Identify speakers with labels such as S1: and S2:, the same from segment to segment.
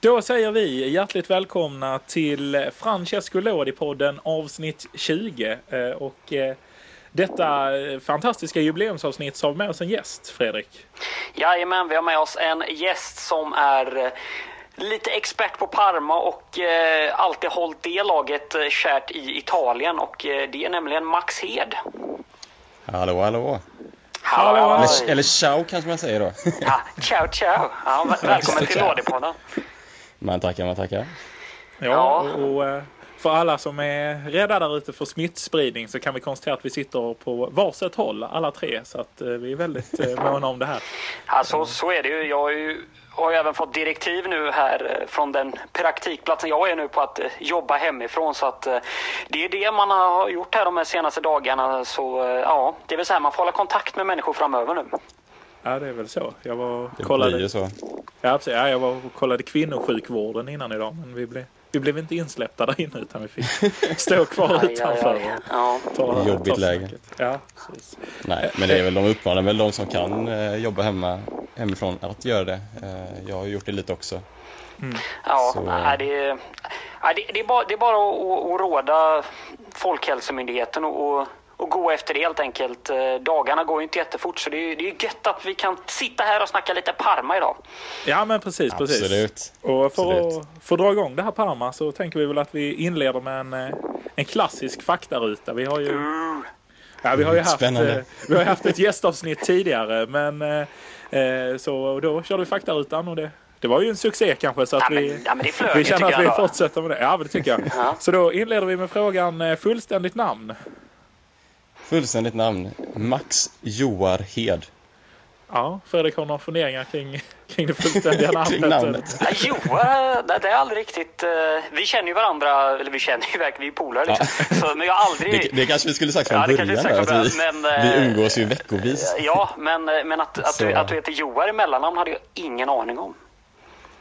S1: Då säger vi hjärtligt välkomna till Francesco Lodi-podden avsnitt 20. Eh, Och eh, detta eh, fantastiska jubileumsavsnitt så har vi med oss en gäst, Fredrik.
S2: Jajamän, vi har med oss en gäst som är eh, lite expert på Parma och eh, alltid hållit det laget eh, kärt i Italien och eh, det är nämligen Max Hed.
S3: Hallå, hallå.
S1: Hallå, hallå.
S2: Halloj.
S3: Eller ciao kanske man säger då.
S2: Ja, ciao, ciao! Ja, väl- välkommen till
S3: Ciao.
S2: Lådepodden.
S3: Man tackar, man tackar.
S2: Ja.
S1: Ja, och, och eh, för alla som är rädda där ute för smittspridning så kan vi konstatera att vi sitter på varsitt håll, alla tre. Så att eh, vi är väldigt eh, måna om det här.
S2: Alltså, så är det ju. Jag har ju, har ju även fått direktiv nu här eh, från den praktikplatsen jag är nu på att eh, jobba hemifrån. Så att eh, det är det man har gjort här de här senaste dagarna. Så eh, ja, det är väl så här man får hålla kontakt med människor framöver nu.
S1: Ja, det är väl så. Jag var och
S3: Det
S1: kollade,
S3: blir ju så.
S1: ja, precis. ja, jag var och kollade kvinnosjukvården innan idag, men vi blev, vi blev inte insläppta där inne utan vi fick stå kvar
S2: Aj, aj,
S1: utanför.
S2: aj.
S1: och
S2: Ja.
S1: Ta,
S3: Jobbigt läge.
S1: snacket. Ja, precis.
S3: Nej, men det är väl de uppmanar väl de som kan eh, jobba hemma, hemifrån att göra det. Eh, jag har ju gjort det lite också.
S2: Ja,
S3: Så-
S2: nej, det, är- nej, det, det, är bara, det är bara att, att, att råda Folkhälsomyndigheten och, och, och gå efter det helt enkelt. Eh, Dagarna går ju inte jättefort så det är, det är gött att vi kan sitta här och snacka lite Parma idag.
S1: ja men precis. precis.
S3: Absolut.
S1: Och för
S3: Absolut.
S1: att få dra igång det här Parma så tänker vi väl att vi inleder med en, eh, en klassisk faktaruta. Vi har ju... Ja, vi har ju haft,
S3: Mm, Spännande.
S1: eh, vi har ju haft ett gästavsnitt tidigare, men eh, eh, så och då körde vi faktarutan och det, det var ju en succé kanske så att
S2: Ja, men-
S1: vi,
S2: ja, men det flög
S1: vi
S2: ju,
S1: känner
S2: tycker
S1: att vi
S2: jag då.
S1: fortsätter med det. Ja, men det tycker jag.
S2: Ja.
S1: Så då inleder vi med frågan eh, fullständigt namn.
S3: Fullständigt namn. Max Joarhed.
S1: Ja, Fredrik har några funderingar kring, kring det fullständiga
S2: Ah,
S1: namnet.
S3: Kring namnet.
S2: Ja, Jo, eh, det, det är aldrig riktigt... eh, Vi känner ju varandra, eller vi känner ju verkligen, vi är polare liksom. Så, men jag har aldrig...
S3: Det, det kanske vi skulle sagt från
S2: Ja, det kanske vi
S3: början.
S2: sagt
S3: då,
S2: från
S3: att
S2: början,
S3: vi,
S2: men, eh,
S3: vi umgås ju veckovis.
S2: Ja, men, eh, men att, att, du,
S3: Så.
S2: att du heter Joar i mellannamn hade jag ingen aning om.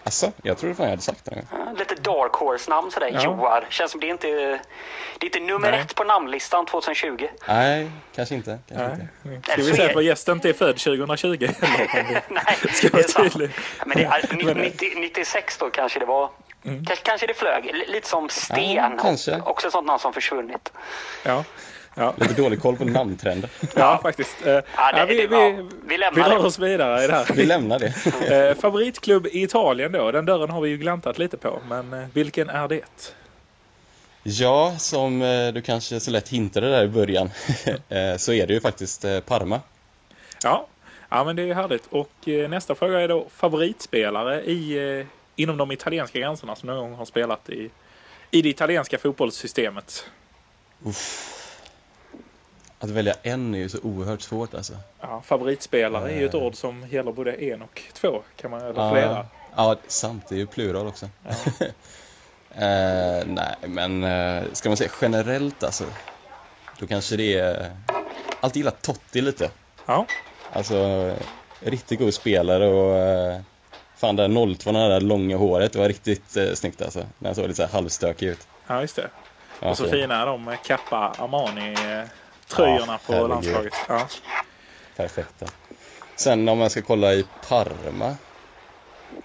S3: Alltså, jag tror fan jag hade sagt det. nu.
S2: Ja, Lite dark horse-namn sådär,
S1: Ja.
S2: Joar. Känns som det är inte det är inte nummer
S1: Nej.
S2: ett på namnlistan 2020.
S3: Nej, kanske inte. Kanske
S1: Nej.
S3: inte.
S1: Ska vi säga att vår gäst inte är född 2020? eller?
S2: Nej,
S1: Ska
S2: det är
S1: vara
S2: sant.
S1: tydlig.
S2: Men det är, ni- 90, 96 då kanske det var.
S1: Mm.
S2: Kanske, kanske det flög. L- lite som Sten.
S3: Ja, kanske.
S2: också ett sånt namn som försvunnit.
S1: Ja. Ja.
S3: Lite dålig koll på namntrender.
S1: Ja, faktiskt. Eh,
S2: Ja, det-
S1: ja, vi,
S2: det-
S1: vi,
S2: ja,
S1: vi,
S2: vi lämnar
S1: drar
S2: det.
S1: oss vidare i det här.
S3: Vi lämnar det.
S1: Eh, favoritklubb i Italien då? Den dörren har vi ju gläntat lite på, men eh, vilken är det?
S3: Ja, som eh, du kanske så lätt hintade där i början, eh, så är det ju faktiskt eh, Parma.
S1: Ja, ja men det är ju härligt. Och eh, nästa fråga är då favoritspelare i, eh, inom de italienska gränserna som någon gång har spelat i, i det italienska fotbollssystemet.
S3: Att välja en är ju så oerhört svårt alltså.
S1: Ja, favoritspelare är ju ett ord som gäller både en och två, kan man, eller
S3: Eh. Ja,
S1: flera.
S3: Ja, sant. Det är ju plural också. eh, nej, men eh, ska man säga generellt alltså, då kanske det är... eh, Alltid gillat Totti lite.
S1: Ja,
S3: Alltså, eh, riktigt god spelare och... Eh, fan, det där 02 det där långa håret, det var riktigt eh, snyggt alltså. När han såg lite så här halvstökig ut.
S1: ja just det.
S3: Ja,
S1: Och så
S3: så-
S1: fina är de eh, Kappa Armani-tröjorna
S3: Ja,
S1: på
S3: herregud.
S1: landslaget. Ja.
S3: Perfekta. Sen om man ska kolla i Parma,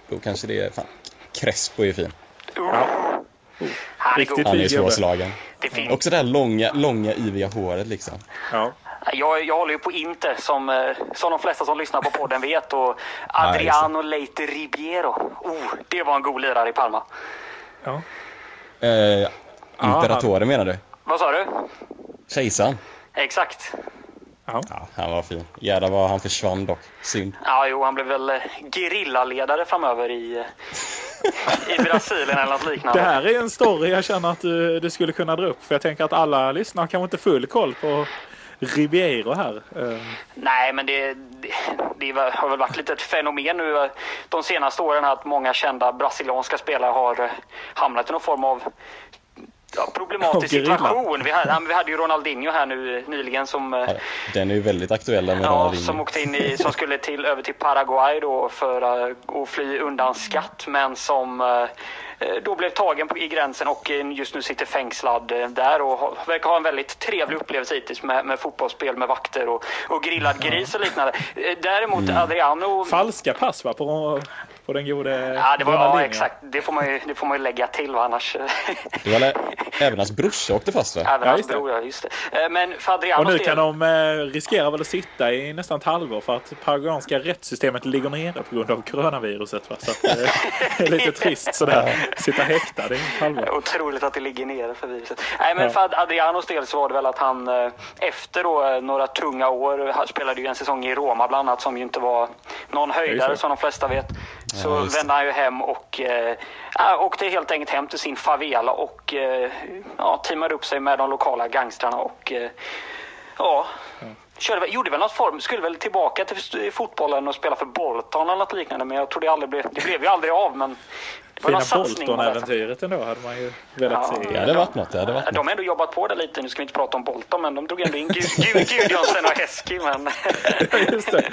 S3: då kanske det är... Fan, Crespo är ju fin.
S2: Han är
S1: Riktigt
S2: god.
S3: Han är ju
S1: Fin gubbe.
S3: svårslagen.
S2: Det är fint.
S3: Också det här långa, långa yviga håret liksom.
S1: Ja.
S2: Jag, jag håller ju på Inter som, eh, som de flesta som lyssnar på podden vet. Och Adriano Leite Ribiero. Oh, det var en god lirare i Parma.
S1: Ja.
S3: Eh, Imperatore menar du?
S2: Vad sa du?
S3: Kejsaren?
S2: Exakt.
S1: Ja.
S3: Ja, han var fin. Jävlar vad han försvann dock. Synd.
S2: Ja, jo, han blev väl eh, gerillaledare framöver i, i Brasilien eller något liknande.
S1: Det här är en story jag känner att du, du skulle kunna dra upp. För jag tänker att alla lyssnare kanske inte full koll på Ribeiro här. Ehm,
S2: Nej, men det, det, det har väl varit lite ett fenomen nu eh, de senaste åren här att många kända brasilianska spelare har eh, hamnat i någon form av ja, problematisk
S1: Ja, gerilla.
S2: situation. Vi hade, ja, men vi hade ju Ronaldinho här nu eh, nyligen som, eh,
S3: Ja, Den är ju väldigt aktuell den med
S2: ja,
S3: Ronaldinho.
S2: som åkte in i, som skulle till, över till Paraguay då för eh, att fly undan skatt, men som eh, eh, då blev tagen på, i gränsen och eh, just nu sitter fängslad eh, där och har, verkar ha en väldigt trevlig upplevelse hittills med, med fotbollsspel med vakter
S1: Mm.
S2: och, och grillad gris och liknande. Eh, Däremot Adriano...
S1: falska pass va? På, på den gode
S2: Ja, det var, ja
S1: Ronaldinho.
S2: exakt. Det får, man ju, det får man ju lägga till va? annars... eh,
S3: Det var lä- även hans brorsa åkte fast va?
S2: Även
S1: Ja,
S2: hans
S1: just det.
S2: bror, ja. Just det. Eh, Men för
S1: Och
S2: Adrianos
S1: nu kan de eh, riskera väl att sitta i nästan ett halvår för att paraguanska rättssystemet ligger nere på grund av coronaviruset. Va? Så att, eh, det är lite trist sådär. Sitta häktad i ett halvår.
S2: Otroligt att det ligger nere för viruset. Nej, men
S1: Ja.
S2: för Ad- Adrianos del så var det väl att han eh, efter då, eh, några tunga år, eh, han spelade ju en säsong i Roma bland annat som ju inte var någon
S1: just det.
S2: höjdare som de flesta vet. Så
S3: Ja, just det.
S2: vände han ju hem och eh, ja, åkte helt enkelt hem till sin favela och eh, ja, teamade upp sig med de lokala gangstrarna och eh, ja, Körde, väl- gjorde väl något form, skulle väl tillbaka till st- fotbollen och spela för Bolton eller något liknande. Men jag tror det aldrig blev, det blev ju aldrig av. Men det var
S1: Fina
S2: någon satsning man lät-
S1: Bolton-äventyret ändå hade man ju velat
S2: Ja.
S1: se.
S3: Det hade varit något, det hade varit
S2: de
S3: något.
S2: har ändå jobbat på det lite. Nu ska vi inte prata om Bolton, men de drog ändå in Gud- Gud- Gudjohnsen och Heskey. Men...
S1: Just det.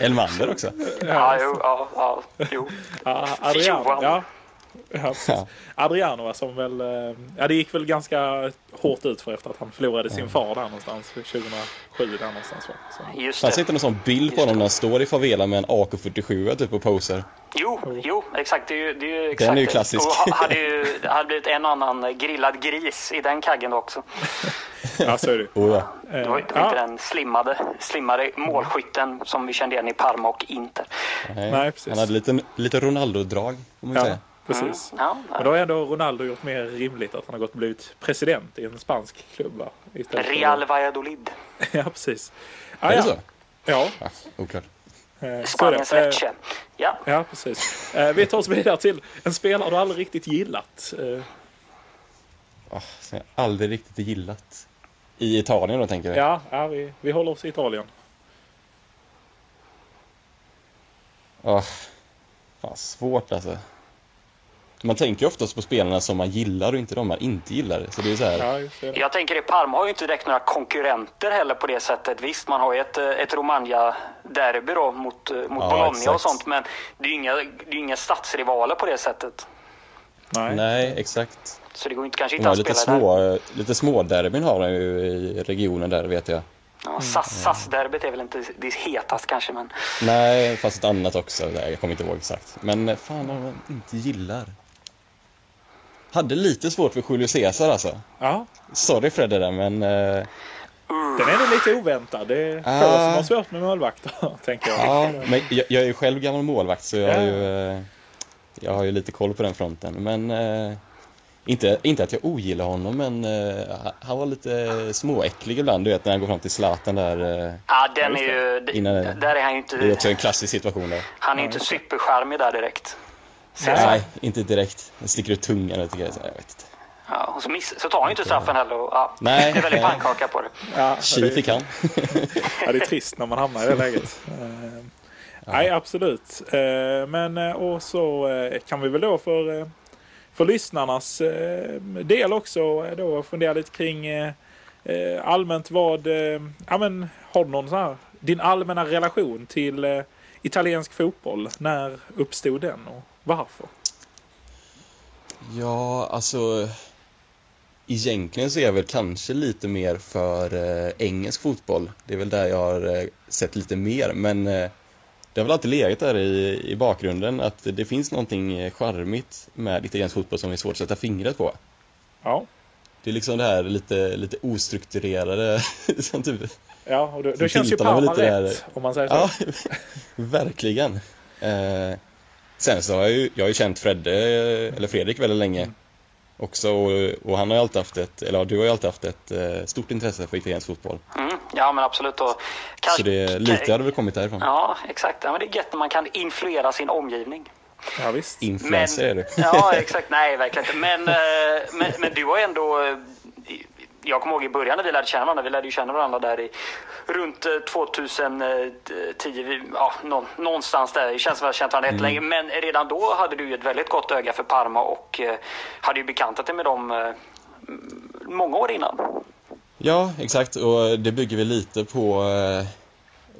S3: Elmander också.
S2: ja, jo, ja, ja, jo.
S1: Ja, Adriano.
S2: Johan.
S1: Ja. Ja, precis.
S3: Ja.
S1: Adriano va, som väl... eh, Ja, det gick väl ganska hårt ut för efter att han förlorade sin far där någonstans. 2007 där någonstans va. Så.
S2: Just
S3: Fanns
S2: det.
S3: det inte någon sån bild på honom när han står i favelan med en AK47 typ och posar?
S2: Jo, jo, exakt. Det är ju, det är ju exakt.
S3: är ju
S2: det.
S3: klassisk.
S2: Och ha- hade ju hade blivit en och annan grillad gris i den kaggen också.
S1: Ja, så är det ju.
S3: Oh, ja.
S1: Eh,
S2: Det var ju inte
S1: ja.
S2: den slimmade, slimmade målskytten som vi kände igen i Parma och Inter.
S3: Nej.
S1: Nej, precis.
S3: Han hade lite, lite Ronaldo-drag, om man
S1: Ja,
S3: säga.
S1: precis.
S2: Ja,
S1: Men då har ändå Ronaldo gjort mer rimligt att han har gått och blivit president i en spansk klubb. Va? Istället för-
S2: Real Valladolid.
S1: Ja, precis. Ah,
S3: Är
S1: ja.
S3: det så?
S1: Ja,
S3: Ja, oklart.
S1: eh, så är det.
S2: Spaniens
S1: Eh,
S2: Lecce. Ja.
S1: Ja, precis. Eh, Vi tar oss vidare till en spelare du aldrig riktigt gillat. Eh,
S3: Oh, som jag aldrig riktigt gillat. I Italien då tänker jag.
S1: Ja, ja vi, vi håller oss i Italien.
S3: Åh, fan, svårt alltså. Man tänker ju oftast på spelarna som man gillar och inte de man inte gillar. Så det är så här,
S1: Ja, just det.
S2: Jag tänker det, Parma har ju inte direkt några konkurrenter heller på det sättet. Visst, man har ju ett, eh, ett Romagna-derby då mot, eh, mot
S3: Ja,
S2: Bologna
S3: exakt.
S2: och sånt, men det är ju inga, det är ju inga stadsrivaler på det sättet.
S1: Nej.
S3: nej exakt.
S2: Så det går ju inte, kanske
S3: De
S2: inte
S3: har
S2: att
S3: lite
S2: spela där.
S3: små, lite små derbyn har de ju i regionen där vet jag.
S2: Ja, SAS,
S3: Mm.
S2: SAS-derbyt är väl inte det hetast kanske, men
S3: Nej, fast ett annat också. Där, jag kommer inte ihåg exakt. Men fan vad man inte gillar. Hade lite svårt för Julio Cesar alltså.
S1: Ja,
S3: Sorry Fredde där men... eh,
S1: den är nog lite oväntad. Det är få
S3: Ah.
S1: som har svårt med målvakter, tänker jag.
S3: Ja, men jag, jag är ju själv gammal målvakt så jag, har
S1: Ja.
S3: ju, eh, jag har ju lite koll på den fronten. Men eh, inte, inte att jag ogillar honom, men eh, han- han var lite småäcklig ibland, du vet när han går fram till Zlatan där. eh,
S2: ja, den
S1: Ja,
S2: är
S1: just
S2: ju, d-
S3: Innan-
S2: där är han ju
S3: Det är
S2: inte,
S3: också en klassisk situation där.
S2: han är ju inte supercharmig där direkt.
S1: Nej.
S3: Nej, inte direkt. Han sticker ut tungan lite grejer. så här, Jag vet inte.
S2: Ja, och så, miss, så tar han ju inte straffen heller. Och, ja,
S3: Nej.
S2: det är väldigt pannkaka på det.
S1: Ja,
S3: Tji fick han.
S1: Ja, det är trist när man hamnar i det läget. Eh, Nej, absolut. Eh, Men eh, och så eh, kan vi väl då för, eh, för lyssnarnas eh, del också eh, då fundera lite kring eh, eh, allmänt vad... eh, Ja, men har du någon sån här, din allmänna relation till eh, italiensk fotboll? När uppstod den och varför?
S3: Ja, alltså... Egentligen så är jag väl kanske lite mer för eh, engelsk fotboll. Det är väl där jag har eh, sett lite mer, men eh, det har väl alltid legat där i, i bakgrunden att det finns någonting eh, charmigt med italiensk fotboll som är svårt att sätta fingret på.
S1: Ja,
S3: Det är liksom det här lite, lite ostrukturerade som typ...
S1: ja och då, då
S3: Så
S1: känns ju
S3: tiltar de
S1: Parma
S3: väl lite
S1: rätt om man säger så.
S3: Ja, verkligen. Eh, sen så har jag ju, jag har ju känt Fredde, eh, eller Fredrik väldigt länge också och, och han har ju alltid haft ett, eller ja, du har ju alltid haft ett eh, stort intresse för italiensk fotboll.
S2: Mm, ja, men absolut. Och,
S3: Så det, lite hade väl kommit därifrån.
S2: Ja, exakt. Ja, men det är gött när man kan influera sin omgivning.
S1: Ja, visst.
S3: Influencer är du.
S2: ja, exakt. Nej, verkligen inte. Men, eh, men, men du har ändå... eh, i- Jag kommer ihåg i början när vi lärde känna varandra. Vi lärde ju känna varandra där i runt eh, 2010. vi- Ja, nå- någonstans där. Det känns som att jag har känt varandra
S3: Mm.
S2: jättelänge. Men redan då hade du ju ett väldigt gott öga för Parma och eh, hade ju bekantat dig med dem eh, m- många år innan.
S3: Ja, exakt. Och det bygger vi lite på... eh,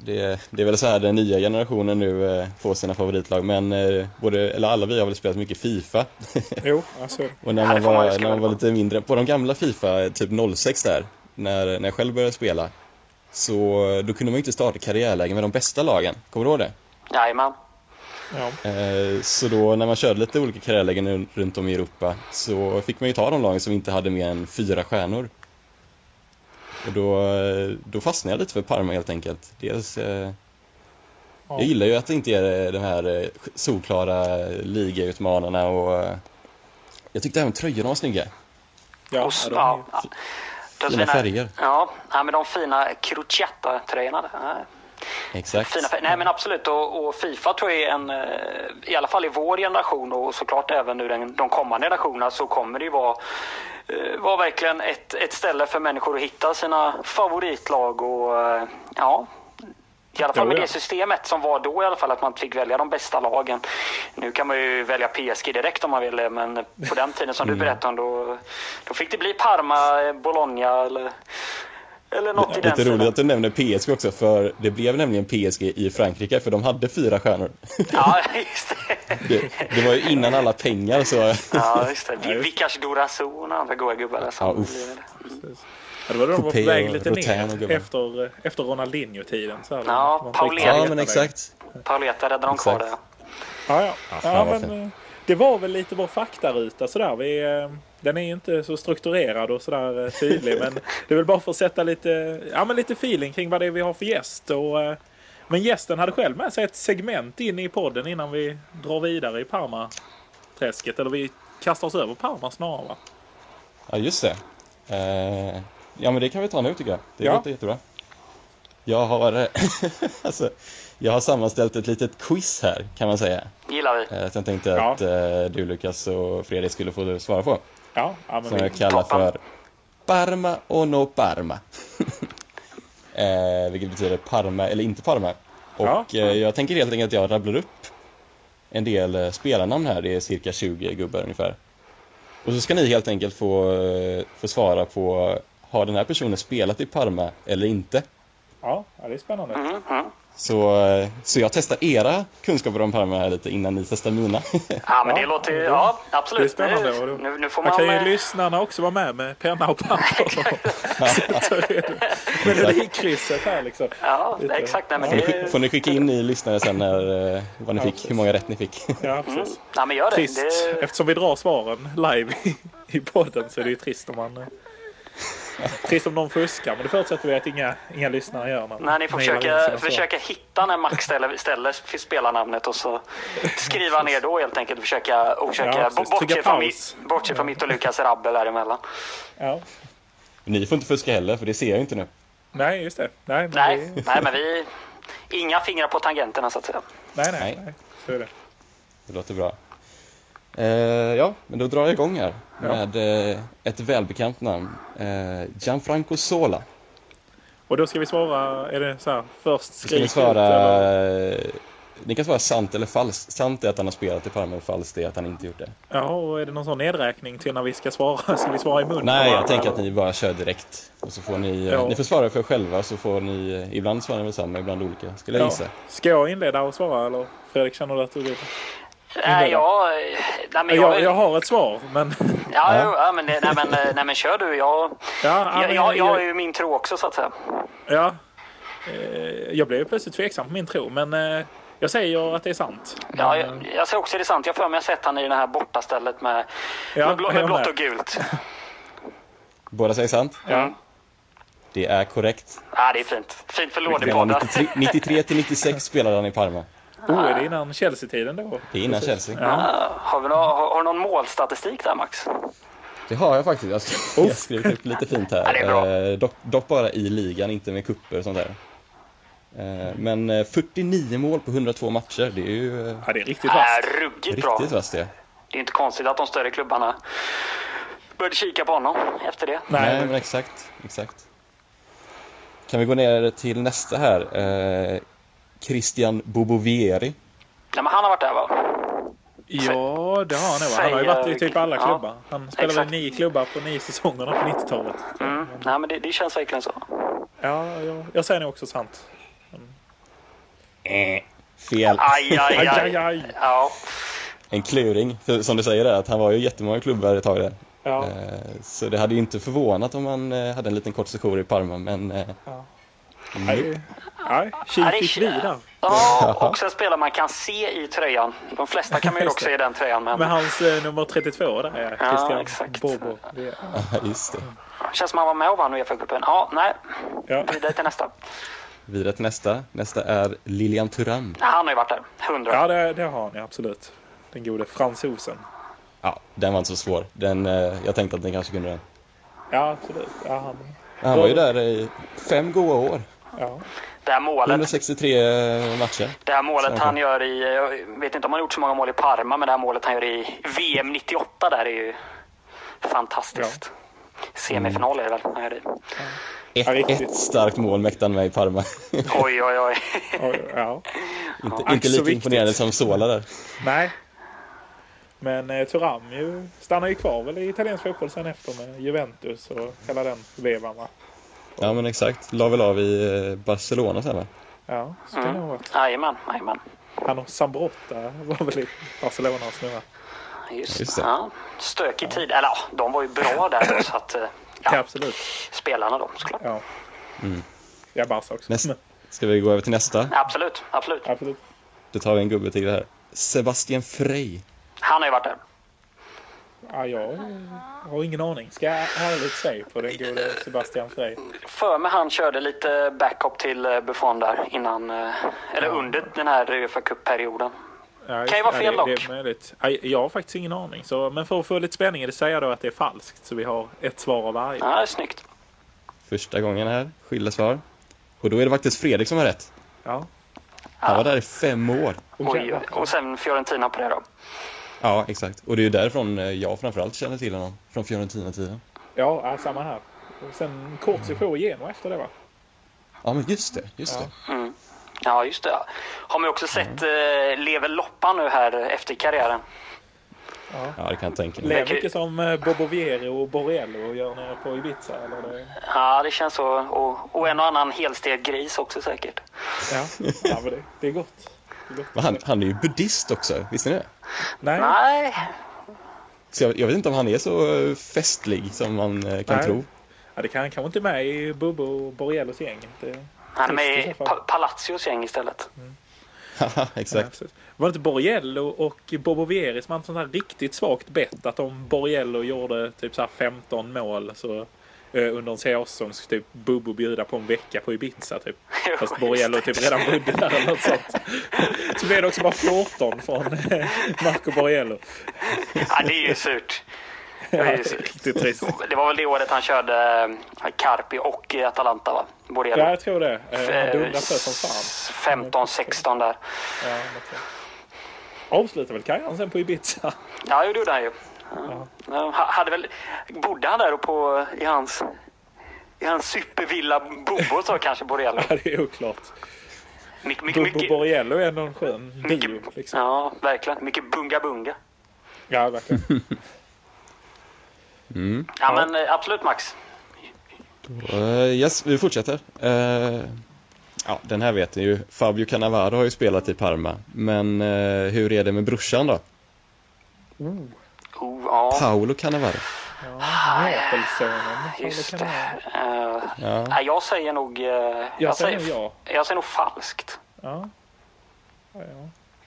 S3: Det, det är väl så här den nya generationen nu eh, får sina favoritlag, men eh, både, eller alla vi har väl spelat mycket Fifa.
S1: Jo, alltså,
S3: Och när
S2: Ja,
S3: man,
S2: det får man ju
S3: var,
S2: skriva
S3: när man
S2: på.
S3: var lite mindre, på de gamla Fifa, typ 06 där, när, när jag själv började spela, så då kunde man ju inte starta karriärlägen med de bästa lagen. Kommer du ihåg det?
S2: Jajamän.
S1: Ja.
S3: Eh, Så då när man körde lite olika karriärlägen run- runt om i Europa så fick man ju ta de lagen som inte hade mer än fyra stjärnor. Och då, eh, då fastnade jag lite för Parma helt enkelt. Dels, eh,
S1: Ja.
S3: jag gillar ju att det inte är eh, de här eh, solklara ligautmanarna och eh, jag tyckte även tröjorna var snygga.
S1: Ja,
S2: Och, s-
S1: de-
S2: ja, de
S3: Fina färger.
S2: Ja, ja, men de fina Crociata-tröjorna. där, ja.
S3: Exakt.
S2: Fina färger. Nej men absolut och, och Fifa tror jag är en, eh, i alla fall i vår generation och såklart även nu den, de kommande generationerna så kommer det ju vara, eh, vara verkligen ett, ett ställe för människor att hitta sina favoritlag och eh, ja. I alla fall
S1: Jo,
S2: med
S1: ja.
S2: det systemet som var då i alla fall att man fick välja de bästa lagen. Nu kan man ju välja PSG direkt om man vill det, men på den tiden som du berättade om då, då fick det bli Parma, eh, Bologna eller, eller något i den
S3: Lite roligt
S2: stilen.
S3: att du nämner PSG också, för det blev nämligen PSG i Frankrike, för de hade fyra stjärnor.
S2: Ja, just det.
S3: Det, det var ju innan alla pengar, så
S2: Ja, just det. Vi,
S1: Ja, just det.
S2: Vickars Dorazon och andra goa gubbar där som
S3: Ja, uff.
S2: blev det.
S1: Precis. Ja, det var då de var på
S3: Coupé
S1: väg
S3: och
S1: lite
S3: Rotan och
S1: ner
S3: gubbar.
S1: efter, eh, efter Ronaldinho-tiden. Så här,
S2: Ja,
S1: Man fick-
S2: Paulé.
S3: Ja, men exakt.
S2: Pauleta räddade dem kvar där.
S3: Exakt.
S1: Ja, ja. ja,
S3: fan, vad
S1: men,
S3: fint.
S1: eh, det var väl lite vår faktaruta sådär. Vi, eh, den är ju inte så strukturerad och sådär eh, tydlig. men det är väl bara för att sätta lite, ja, men lite feeling kring vad det är vi har för gäst. Och, eh, men gästen hade själv med sig ett segment in i podden innan vi drar vidare i Parma-träsket. Eller vi kastar oss över Parma snarare. Va?
S3: Ja, just det. Eh, ja, men det kan vi ta nu tycker jag. Det
S1: Ja.
S3: låter jättebra. Jag har, eh, alltså, jag har sammanställt ett litet quiz här, kan man säga.
S2: Gillar vi.
S3: Eh, som jag tänkte
S1: Ja.
S3: att eh, du, Lukas och Fredrik skulle få svara på.
S1: Ja, ja, men
S3: Som
S1: vi,
S3: jag kallar
S2: toppen.
S3: för Parma o no Parma. eh, vilket betyder Parma eller inte Parma.
S1: Ja.
S3: Och eh, jag tänker helt enkelt att jag rabblar upp en del eh, spelarnamn här. Det är cirka 20 gubbar ungefär. Och så ska ni helt enkelt få, eh, få svara på har den här personen spelat i Parma eller inte?
S1: ja, ja, det är spännande.
S2: Mm, mm.
S3: Så, eh, så jag testar era kunskaper om Parma här lite innan ni testar mina.
S2: Ja, men
S1: Ja,
S2: det låter ju...
S1: det-
S2: Ja,
S1: Det är
S2: absolut.
S1: spännande. Och
S2: Nu,
S1: då-
S2: nu, nu får
S1: här
S2: man...
S1: kan ju
S2: eh,
S1: lyssnarna också vara med med penna och papper. med melodikrysset här liksom.
S2: Ja,
S1: lite.
S2: exakt. Nej, men
S3: Får ni, skick-
S2: det,
S3: får ni skicka in ni lyssnare sen när, eh, vad ni
S1: Ja,
S3: fick,
S1: precis.
S3: hur många rätt ni fick?
S1: Ja,
S2: mm.
S1: precis.
S2: ja, men gör det.
S1: Trist.
S2: det
S1: Eftersom vi drar svaren live i, i podden så är det ju trist om man... eh, Trist om någon fuskar, men det förutsätter vi att inga, inga lyssnare gör. när-
S2: nej, ni får
S1: mejlar in
S2: försöka,
S1: sina svar.
S2: försöka hitta när Max ställer, ställer för spelarnamnet och så skriva ner då helt enkelt. Försöka, och försöka
S1: Ja, precis.
S2: bortse,
S1: Trycka
S2: från,
S1: paus.
S2: mi- bortse från mitt och Lukas rabbel däremellan.
S1: Ja.
S3: Ni får inte fuska heller, för det ser jag ju inte nu.
S1: Nej, just det. Nej, men
S2: Nej,
S1: det-
S2: nej, men vi... Inga fingrar på tangenterna så att säga.
S1: nej, nej,
S3: Nej.
S1: nej. Så är det.
S3: Det låter bra. Eh, ja, men då drar jag igång här
S1: Ja.
S3: med eh, ett välbekant namn. Eh, Gianfranco Sola.
S1: Och då ska vi svara, är det så här, först
S3: Ska ni
S1: skrik ut
S3: svara...
S1: eller?
S3: ni kan svara sant eller falskt. Sant är att han har spelat i Parma och falskt är att han inte gjort det.
S1: Ja, och är det någon sån nedräkning till när vi ska svara? Ska vi svara i mun? på
S3: Nej, jag
S1: varandra,
S3: tänker
S1: eller?
S3: att ni bara kör direkt. Och så får ni, eh,
S1: Ja.
S3: ni får svara för er själva så får ni, eh, ibland svarar ni väl samma, ibland olika, skulle jag
S1: Ja.
S3: gissa.
S1: Ska jag inleda och svara eller? Fredrik, känner du att du vill?
S2: Nej, jag... Nej, men jag,
S1: Jag, jag har ett svar, men...
S2: Ja,
S3: Ja.
S2: jo, ja men, det- nej, men, eh, nej men kör du. Jag,
S1: Ja, ja,
S2: jag,
S1: men
S2: jag, jag har ju min tro också så att säga.
S1: Ja. Eh, Jag blev ju plötsligt tveksam på min tro, men eh, jag säger att det är sant.
S2: Ja, jag, jag ser också det är sant. Jag har för mig att jag sett han i det här bortastället med,
S1: Ja,
S2: med, blå,
S1: jag
S2: med
S1: med.
S2: blått och gult.
S3: Båda säger sant.
S1: Ja.
S3: Det är korrekt.
S2: Ja, det är fint. Fint för
S3: Mellan
S2: lådepodden.
S3: 93, 93 till 96 spelade han i Parma.
S1: Oh, är det innan Chelsea-tiden då?
S3: Det är innan Chelsea.
S2: Ja, Har, vi nå, har, har du någon målstatistik där Max?
S3: Det har jag faktiskt. Jag skrev, jag skrev upp lite fint här.
S2: Ja, det är bra.
S3: Eh, dock, dock bara i ligan, inte med kupper och sånt där. Eh, Men eh, 49 mål på 102 matcher, det är ju eh,
S1: Ja, det är riktigt
S2: Ja,
S1: vasst.
S2: ruggigt bra.
S3: riktigt vasst det.
S2: Det är inte konstigt att de större klubbarna började kika på honom efter det.
S3: Nej,
S1: Nej,
S3: men exakt, exakt. Kan vi gå ner till nästa här? Eh, Christian Bobovieri.
S2: Nej, men han har varit där va?
S1: ja, det har han nog. Han har ju
S2: Säger-
S1: varit i typ alla
S2: ja.
S1: klubbar. Han spelade
S2: Exakt.
S1: i nio klubbar på nio säsongerna på 90-talet.
S2: Mm. Nej, men det, det känns verkligen så.
S1: Ja, jag, jag säger nog också sant.
S3: Eh, Fel.
S2: Aj, aj,
S1: Aj,
S2: aj.
S1: aj, aj.
S2: Ja,
S3: En kluring. För som du säger, där, att han var ju i jättemånga klubbar ett tag där.
S1: Ja,
S3: Eh, Så det hade ju inte förvånat om han eh, hade en liten kort session i Parma, men eh,
S1: ja.
S3: nope.
S1: Nej, Nej, tji
S2: Ja, det är
S1: fick vi
S2: tji-
S1: där.
S2: Ja, också en spelare man kan se i tröjan. De flesta kan man ju
S1: Just
S2: också se i den tröjan. Men
S1: Med hans eh, nummer 32 där, ja,
S2: Ja,
S1: Christian
S2: exakt.
S1: Bobo. Det,
S3: Ja, just det.
S2: känns som han var med och vann Uefa-cupen. Ja, nej.
S1: ja.
S2: Vidare till nästa.
S3: Vidare till nästa. Nästa är Lilian Thuram.
S2: Ja, han har ju varit där. 100.
S1: ja, det, det har han ju absolut. Den gode fransosen.
S3: Ja, den var inte så svår. Den, eh, jag tänkte att ni kanske kunde den.
S1: Ja, absolut. Ja, han,
S3: Han var ju där i fem goa år.
S1: ja.
S2: Det här målet.
S3: 163 matcher.
S2: Det här målet
S3: Säkert.
S2: han gör i, jag vet inte om han har gjort så många mål i Parma, men det här målet han gör i VM 98 där är ju fantastiskt. Semifinal är det väl han gör i.
S1: Ja,
S3: Ett,
S1: riktigt.
S3: ett starkt mål mäktade han med i Parma.
S2: Oj, oj, oj.
S1: Och, ja.
S3: inte
S1: ack,
S3: inte
S1: så
S3: lika
S1: viktigt.
S3: imponerande som Sola där.
S1: Nej. Men eh, Thuram ju, stannar ju kvar väl i italiensk fotboll sen efter med Juventus och hela den vevan va?
S3: Ja, men exakt. La väl av i eh, Barcelona sen va?
S1: Ja, så kan det vara.
S2: Jajamän, jajamän.
S1: Han och Sambrotta var väl i Barcelona och snurra.
S2: Just,
S3: Just
S2: det.
S3: det.
S2: Ja. Stökig tid. Eller ja, de var ju bra där då, så att eh,
S1: Ja.
S2: ja,
S1: absolut.
S2: spelarna då såklart.
S1: Ja. Ja, Barca också.
S3: Nästa.
S1: Men,
S3: Ska vi gå över till nästa?
S2: Absolut, absolut.
S1: absolut.
S3: Då tar vi en gubbe till här. Sebastian Frey.
S2: Han har ju varit där.
S1: Ja, jag har ingen aning. Ska jag ärligt säga på den gode Sebastian Frey.
S2: För mig han körde lite backup till eh, Buffon där innan, eh, eller under den här Uefa Cup-perioden.
S1: Ja,
S2: Kan ju vara fel
S1: ja, det, det
S2: dock.
S1: är möjligt. Ja, jag har faktiskt ingen aning. Så, men för att få lite spänning i det säger jag då att det är falskt. Så vi har ett svar av varje.
S2: Ja, det är snyggt.
S3: Första gången här. Skilda svar. Och då är det faktiskt Fredrik som har rätt.
S1: Ja.
S3: Han var där i fem år.
S2: Oj, oj. och sen Fiorentina på det då.
S3: Ja, exakt. Och det är ju därifrån eh, jag framförallt känner till honom. Från Fiorentina-tiden.
S1: Ja, ja, samma här. Och sen kort session i Genoa efter det va?
S3: Ja, men just det. Just
S1: Ja.
S3: det.
S2: Ja, just det. Har man ju också sett
S1: Mm.
S2: eh, Lever Loppa nu här efter karriären.
S3: Ja, det kan jag tänka mig.
S1: Lever mycket som eh, Bobo Viero och Borrello gör nere på Ibiza. Eller det...
S2: Ja, det känns så. Och, och en och annan helstekt gris också säkert.
S1: Ja, ja men det, det är gott. Det är gott.
S3: Men han, han är ju buddhist också, visste ni det?
S1: Nej,
S2: Nej,
S3: Så jag, jag vet inte om han är så eh, festlig som man eh, kan
S1: Nej.
S3: tro.
S1: ja, det kan han kanske inte med i Bobo och Borrellos gäng. Det...
S2: han är med
S1: Trist i
S2: i
S1: så fall.
S2: pa- Palacios gäng istället.
S3: Haha,
S1: Ja,
S3: exakt.
S1: precis. Var det inte Borriello och Bobo Vieri som hade ett sånt här riktigt svagt bett? Att om Borriello gjorde typ så här 15 mål så eh, under en säsong skulle typ Bobo bjuda på en vecka på Ibiza typ.
S2: Jo,
S1: Fast Borriello
S2: just det.
S1: typ redan bodde där eller något sånt. Så blev det också bara 14 från eh, Marco Borriello.
S2: Ja, det är ju surt. Det, är ju surt.
S1: Riktigt trist.
S2: det var väl det året han körde eh, Carpi och eh, Atalanta, va? Både
S1: Ja, jag tror det. Eh, Han
S2: eh,
S1: dundrade på som fan.
S2: 15-16 där.
S1: Ja, något sånt. Avslutade väl karriären sen på Ibiza.
S2: Ja, jo, det gjorde han ju. Ja. Ha- Hade väl, bodde han där och på, i hans, i hans supervilla Bobo så kanske Borrello?
S1: Ja, det är oklart.
S2: Mycket, mycket,
S1: Bobo
S2: mycket,
S1: Borriello är ändå en skön bio.
S2: mycket,
S1: Liksom.
S2: ja, verkligen. Mycket bunga bunga.
S1: Ja, verkligen.
S2: Ja, men eh, absolut Max.
S3: Eh, yes, vi fortsätter. Eh, ja, den här vet ni ju. Fabio Cannavaro har ju spelat i Parma. Men eh, hur är det med brorsan då?
S2: Oh, ja,
S3: Paolo Cannavaro.
S1: Neapelsonen.
S2: just
S1: Eller kan det
S2: det. Eh,
S3: Ja.
S2: nej, jag säger nog... eh, jag,
S1: Jag säger nog
S2: jag säger nog falskt.
S1: vara? Ja. Ja,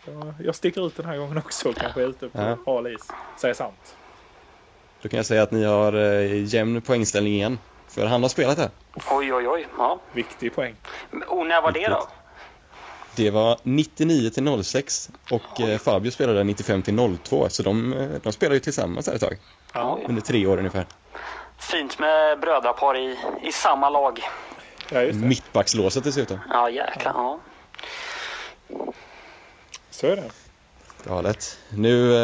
S1: ja. Jag- Jag sticker ut den här gången också och kanske är ute på
S3: Ja.
S1: hal is. Säger sant.
S3: Då kan jag säga att ni har eh, jämn poängställning igen. För han har spelat här.
S2: Oj, oj, oj. Ja.
S1: Viktig poäng.
S2: Och när var det då?
S3: Det var 99 till 06 och eh, Fabio spelade 95 till 02 så de, eh, de spelade ju tillsammans här ett tag.
S1: Ja.
S2: Oj.
S3: Under tre år ungefär.
S2: Fint med brödrapar i, i samma lag.
S1: Ja, just
S3: Mm.
S1: det.
S3: Mittbackslåset dessutom.
S2: Ja, jäklar. Ja.
S1: Så är det.
S3: Galet. Nu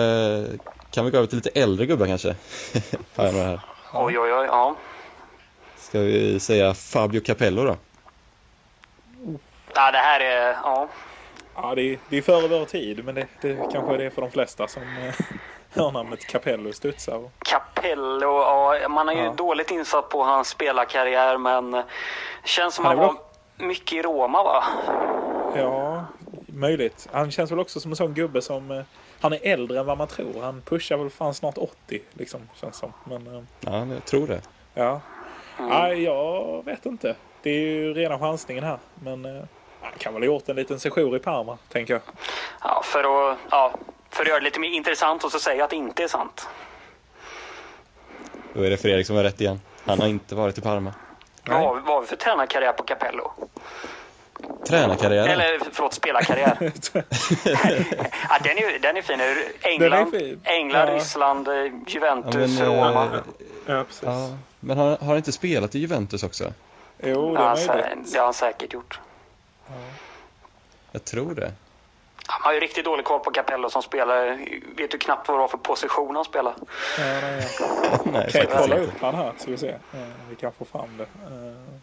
S3: eh, kan vi gå över till lite äldre gubbar kanske. Har jag några här.
S2: Oj, oj, oj. Ja.
S3: Ska vi säga Fabio Capello då?
S2: Ja, det här är... Ja.
S1: Ja, det är, det är före vår tid, men det, det kanske är det för de flesta som eh, hör namnet Capello studsa. Och,
S2: Capello, ja, man är ju
S1: Ja.
S2: dåligt insatt på hans spelarkarriär men eh, känns som
S1: Han
S2: han
S1: är
S2: var
S1: väl
S2: mycket i Roma va?
S1: ja, möjligt. Han känns väl också som en sån gubbe som... eh, Han är äldre än vad man tror. Han pushar väl fan snart 80, liksom, känns som. Men, eh,
S3: Ja, jag tror det.
S1: Ja. Nej, jag vet inte. Det är ju rena chansningen här. Men eh, Man kan väl ha gjort en liten sejour i Parma, tänker jag.
S2: Ja, för att, ja, för att göra det lite mer intressant och så säga att det inte är sant.
S3: Då är det Fredrik som har rätt igen. Han har inte varit i Parma.
S2: Vad har, vi- vad har vi för tränarkarriär på Capello?
S3: Tränarkarriären.
S2: Eller förlåt, spelarkarriär. ja, den, är, ju- den är fin. England,
S1: fin.
S2: England
S1: Ja.
S2: Ryssland, eh,
S3: Ja,
S2: Juventus,
S3: men,
S2: Roma.
S3: eh,
S1: ja, precis.
S3: ja, men har, har han inte spelat i Juventus också?
S1: Jo, det
S2: Ja,
S1: är
S2: så-
S1: möjligt.
S2: det har han säkert gjort.
S3: Jag tror det.
S2: Han har ju riktigt dålig koll på Capello som spelare. Vet du knappt vad det var för position han spelar?
S1: Ja, det är-
S3: Nej,
S1: Kan jag
S3: faktiskt
S1: kolla
S3: inte.
S1: upp han här så vi ser. Eh, Vi kan få fram det. Eh,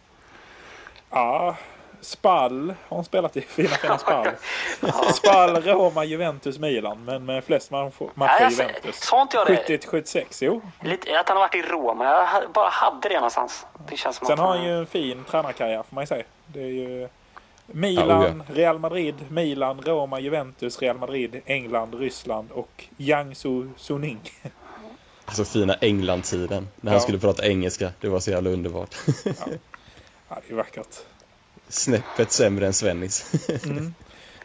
S1: Ja, Spall har han spelat i. Fina fina Spall. Spall, Roma, Juventus, Milan. Men med flest man-
S2: Nej,
S1: matcher
S2: jag sa-
S1: Juventus.
S2: sa inte jag det?
S1: 70 till 76, jo.
S2: Lite, att han har varit i Roma. Jag ha- bara hade det någonstans. Det känns som
S1: Sen
S2: att
S1: har han ju en fin tränarkarriär får man ju säga. Det är ju
S3: Ja,
S1: Milan, Real Madrid, Milan, Roma, Juventus, Real Madrid, England, Ryssland och Jiangsu Suning.
S3: Alltså fina England-tiden. När
S1: Ja.
S3: han skulle prata engelska. Det var så jävla underbart.
S1: Ja, det är vackert.
S3: Snäppet sämre än Svennis.
S1: Mm.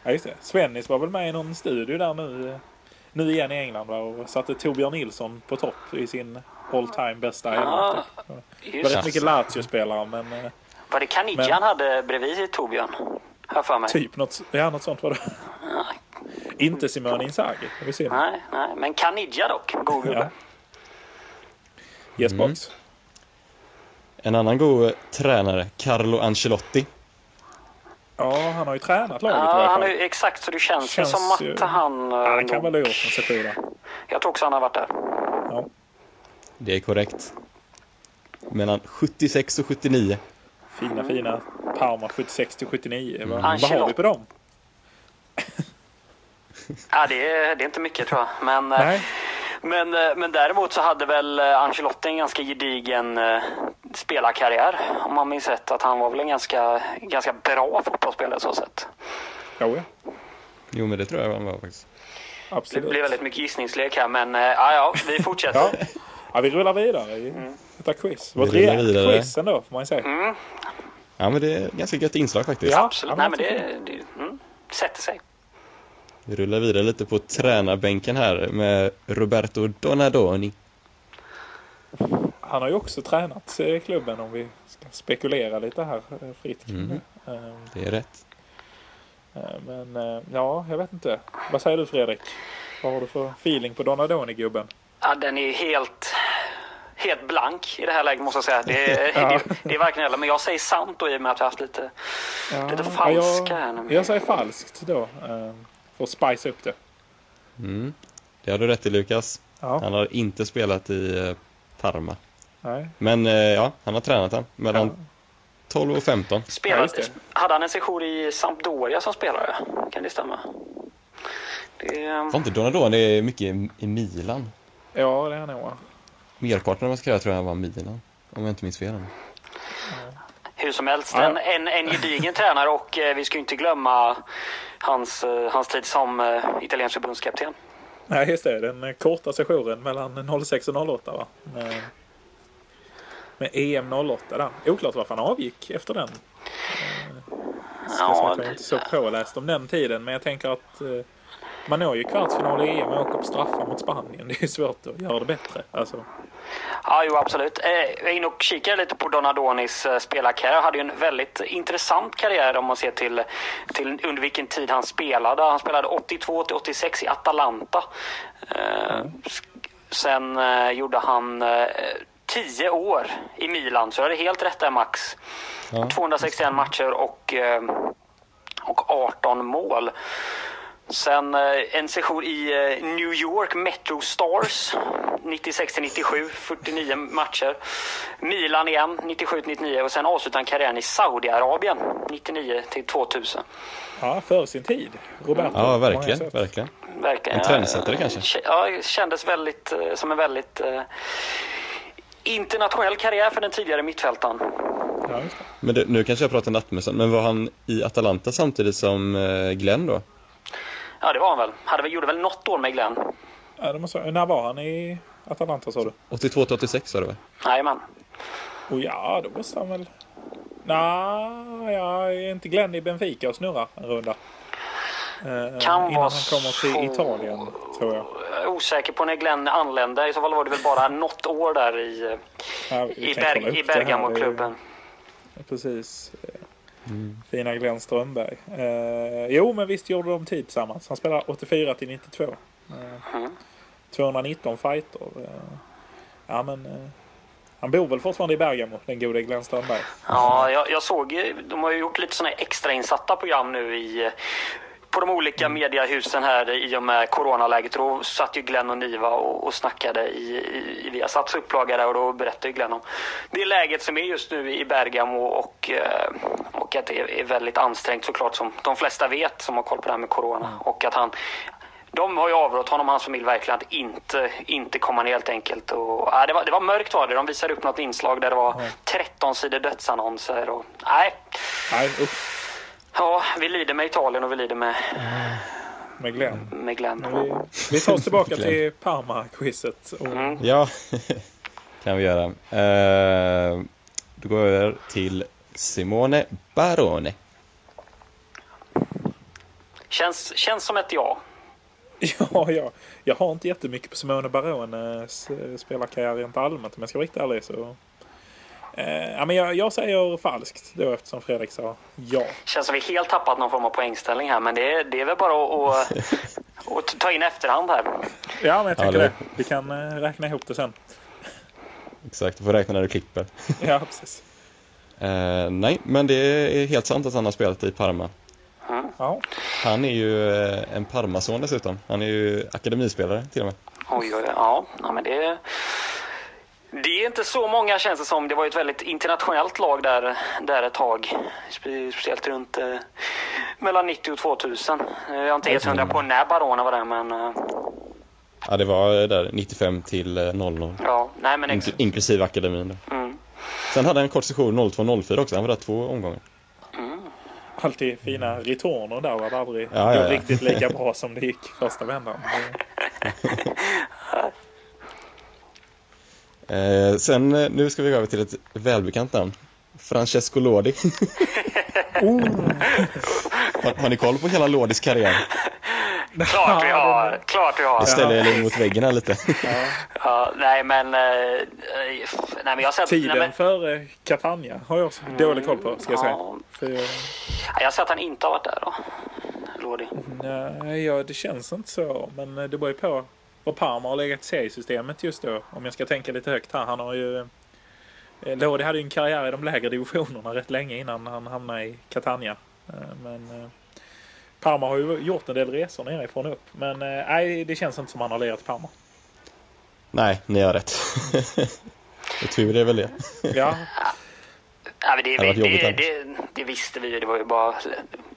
S1: Ja, just det. Svennis var väl med i någon studio där nu, eh, nu igen i England va? och satte Torbjörn Nilsson på topp i sin all time bästa elva.
S2: Ja,
S1: typ. Det var
S2: Just,
S1: rätt mycket Lazio-spelare men eh,
S2: var det Kanidjan
S1: Men-
S2: hade bredvid Torbjörn? Har jag för mig.
S1: typ något, ja, något sånt var det. Inte Simone Inzaghi. får Vi ser.
S2: Nej, nej, men Kanidja dock. God
S1: Ja.
S2: gubbe.
S1: Yes box.
S3: En annan god eh, tränare, Carlo Ancelotti.
S1: Ja, han har ju tränat laget i
S2: Ja,
S1: alla
S2: han
S1: fall.
S2: är ju exakt, så det känns,
S1: Känns
S2: som att
S1: ju-
S2: han... eh,
S1: Ja, han kan
S2: nog-
S1: väl ha gjort en session där.
S2: Jag tror också han har varit där.
S1: Ja.
S3: Det är korrekt. Mellan 76 och 79.
S2: Mm.
S1: Fina, fina Parma 76 till 79. Vad, vad har vi
S2: Ancelotti.
S1: på dem?
S2: Ja, det, är, det är inte mycket tror jag. Men, eh,
S1: Nej,
S2: men, eh, men däremot så hade väl eh, Ancelotti en ganska gedigen eh, spelarkarriär. Om man minns rätt att han var väl en ganska, ganska bra fotbollsspelare så sett.
S1: jo, ja.
S3: Jo, men det tror jag han var faktiskt.
S2: Det
S1: absolut.
S2: blir väldigt mycket gissningslek här men eh, ja, ja, vi fortsätter.
S1: Ja. ja, vi rullar vidare i
S2: Mm.
S1: detta quiz. Vårt
S3: rullar
S1: rejält
S3: vidare.
S1: quiz ändå, får man ju säga.
S3: Ja, men det är ett ganska gött inslag faktiskt.
S1: Ja,
S2: Absolut.
S1: ja,
S2: Nej,
S1: men
S2: men det, det mm, sätter sig.
S3: Vi rullar vidare lite på tränarbänken här med Roberto Donadoni.
S1: Han har ju också tränat eh, klubben om vi ska spekulera lite här eh, fritt kring
S3: Mm.
S1: det. Ehm,
S3: Det är rätt.
S1: eh, Men eh, ja, jag vet inte. Vad säger du Fredrik? Vad har du för feeling på Donadoni-gubben?
S2: Ja, den är ju helt, helt blank i det här läget måste jag säga. Det är,
S1: Ja.
S2: det, det är verkligen eller. Men jag säger sant då i och med att vi har haft lite... Lite falska här
S1: jag,
S2: nu.
S1: jag säger falskt då. ehm, För att spice upp det.
S3: Det har du rätt i Lukas.
S1: Ja,
S3: Han har inte spelat i eh, Parma.
S1: nej.
S3: Men eh, ja, han har tränat den mellan 12 och 15.
S1: Ja,
S2: Spelade,
S1: just det.
S2: hade han en sejour i Sampdoria som spelare? Kan det stämma? Det, eh,
S3: Var inte Donadoni mycket i- i Milan?
S1: Ja, det är han nog. va?
S3: Merparten av hans karriär tror jag var Milan. Om jag inte minns fel.
S2: hur som helst,
S1: Ja.
S2: en, en, en gedigen tränare och eh, vi ska ju inte glömma hans, eh, hans tid som eh, italiensk förbundskapten.
S1: Nej, just det. Den eh, korta sessionen mellan 06 och 08 va? Med, med E EM 08 där. Oklart varför han avgick efter den. Jag ska säga
S2: Ja,
S1: att jag inte är så påläst om den tiden, men jag tänker att eh, man når ju kvartsfinal i EM och åker på straffar mot Spanien. Det är svårt att göra det bättre. Alltså,
S2: ja, jo absolut. Eh, Jag är inne och kikar lite på Donadonis eh, spelarkarriär. Han hade ju en väldigt intressant karriär om man ser till, till under vilken tid han spelade. Han spelade 82 till 86 i Atalanta. Eh, Sen eh, gjorde han eh, 10 år i Milan, så jag hade helt rätt där Max.
S3: Ja.
S2: 261 matcher och, eh, och 18 mål. Sen eh, en session i eh, New York Metro Stars 96-97, 49 matcher. Milan igen 97-99 och sen avslutade han karriären i Saudiarabien 99-2000.
S1: ja, före sin tid. Roberto. på
S3: Ja,
S1: många
S3: verkligen.
S1: sätt.
S3: verkligen.
S2: Verkligen.
S3: En trendsättare
S2: Ja,
S3: kanske?
S2: k- Ja, kändes väldigt, eh, som en väldigt eh, internationell karriär för den tidigare mittfältaren.
S1: Ja, just det.
S3: Men det, nu kanske jag pratar nattmössan, men var han i Atalanta samtidigt som eh, Glenn då?
S2: Ja, det var han väl. Hade väl gjorde väl något år med Glenn.
S1: Ja, det måste, jag- när var han i Atalanta sa du?
S3: 82 till 86 var det väl?
S2: Jajamän.
S1: Och ja, då måste han väl... Nej, jag är inte Glenn i Benfica och snurrar en runda? Eh,
S2: Kan
S1: innan
S2: vara
S1: han kommer till
S2: så.
S1: Italien, tror jag.
S2: Jag är Eh, osäker på när Glenn anlände. I så fall var det väl bara något år där i, eh,
S1: Ja, vi
S2: i,
S1: kan kolla
S2: Ber-
S1: upp
S2: i
S1: det här. Det är-
S2: Bergamo-klubben.
S1: Precis. Fina Glenn Strömberg. Eh, jo, men visst gjorde de tid tillsammans. Han spelar 84 till 92. Eh,
S2: Mm.
S1: 219 fighter. Eh, ja, men, eh, han bor väl fortfarande i Bergamo, den gode Glenn Strömberg.
S2: Ja,
S1: Mm.
S2: jag, jag såg ju- de har ju gjort lite sådana här extrainsatta program nu i eh, på de olika
S1: Mm.
S2: mediehusen här i och med coronaläget. Då satt ju Glenn och Niva och, och snackade i, i, i Viasats upplaga där och då berättade ju Glenn om det läget som är just nu i Bergamo och, eh, och att det är- är väldigt ansträngt såklart som de flesta vet som har koll på det här med corona.
S1: Mm.
S2: Och att han, de har ju avrått honom och hans familj verkligen att inte, inte komma ner helt enkelt. Och, nej, det, var, det var mörkt var det. De visade upp något inslag där det var 13 sidor dödsannonser. Och, nej,
S1: Nej, upp
S2: ja, vi lider med Italien och vi lider med,
S1: med Glenn.
S2: med Glenn.
S1: Men Vi, vi tar oss tillbaka
S3: Glenn.
S1: till Parma-quizet. Och,
S2: Mm.
S3: Ja, kan vi göra. Eh, då går jag över till Simone Barone.
S2: Känns, känns som ett ja.
S1: Ja, ja, jag har inte jättemycket på Simone Barones eh, spelarkarriär rent allmänt om jag ska vara riktigt ärlig. Så. Eh, ja, men jag, jag säger falskt då eftersom Fredrik sa ja.
S2: Känns som vi helt tappat någon form av poängställning här, men det är, det är väl bara att, att, att ta in efterhand här.
S1: Ja, men jag tänker
S3: det-
S1: det. Vi kan eh, räkna ihop det sen.
S3: Exakt, du får räkna när du klipper.
S1: Ja, precis.
S3: Eh, nej, men det är helt sant att han har spelat i Parma.
S1: Ja,
S3: Han är ju eh, en Parmason dessutom. Han är ju akademispelare till och med.
S2: Oj, oj, oj. ja, ja, men det... Det är inte så många känns det som. Det var ju ett väldigt internationellt lag där, där ett tag. Spe- Speciellt runt eh, mellan 90 och 2000. Eh, Jag är inte helt hundra på när Barona var där, men eh,
S3: Ja, det var eh, där 95 till eh, 00.
S2: ja. Nej, men ex-
S3: Ink- inklusive akademin då.
S2: Mm.
S3: Sen hade han en kort session 02-04 också. Han var där två omgångar.
S1: alltid fina returner där var det aldrig
S3: Mm. Ja, ja, ja.
S1: riktigt lika bra som det gick första vändan. Det-
S3: Eh, sen, eh, nu ska vi gå över till ett välbekant namn. Francesco Lodi. Oh. har, har ni koll på hela Lodis karriär?
S2: klart vi har. Klart vi har.
S3: Jag ställer er lite mot väggen här lite.
S2: Ja, nej, men... eh, eh, nej, men jag har sett... nej, men, Mm.
S1: Tiden före Catania har jag också dålig koll på, ska jag säga.
S2: ja.
S1: För, eh, jag-
S2: jag har sett att han inte har varit där då. Lodi.
S1: Nej, ja, det känns inte så. Men eh, det beror ju på vad Parma har legat sig i systemet just då. Om jag ska tänka lite högt här. Han har ju... eh, Lodi hade ju en karriär i de lägre divisionerna rätt länge innan han hamnade i Catania. Eh, Men eh, Parma har ju gjort en del resor nerifrån och upp. Men eh, nej, det känns inte som han har legat i Parma.
S3: Nej, ni har rätt. Och tur är väl det.
S1: Ja,
S2: Ja, men det,
S3: Det hade
S2: det,
S3: varit
S2: det,
S3: jobbigt
S2: det, visste vi ju. Det var ju bara...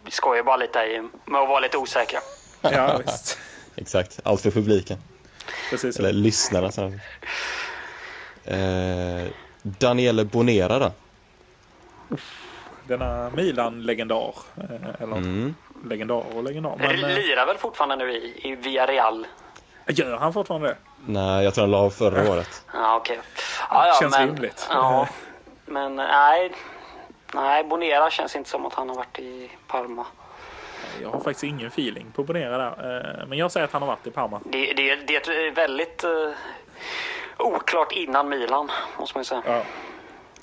S2: Vi skojar ju bara lite i, med att vara lite osäkra.
S1: ja visst.
S3: Exakt, allt för publiken.
S1: Precis.
S3: Eller lyssnarna snarare. Eh, Daniele Bonera då?
S1: Denna Milan-legendar. eh, Eller
S3: Mm.
S1: legendar och legendar.
S2: Men,
S1: Men eh,
S2: lirar väl fortfarande nu i, i Villarreal?
S1: gör han fortfarande det?
S3: Nej, jag tror han la av förra året.
S2: Ja, okej. Ja, ja,
S1: Känns
S2: men,
S1: rimligt.
S2: Ja, men nej. Nej, Bonera känns inte som att han har varit i Parma.
S1: Jag har faktiskt ingen feeling på Bonera där. eh, Men jag säger att han har varit i Parma.
S2: Det, det, det är ett väldigt eh, oklart innan Milan, måste man ju säga.
S1: Ja,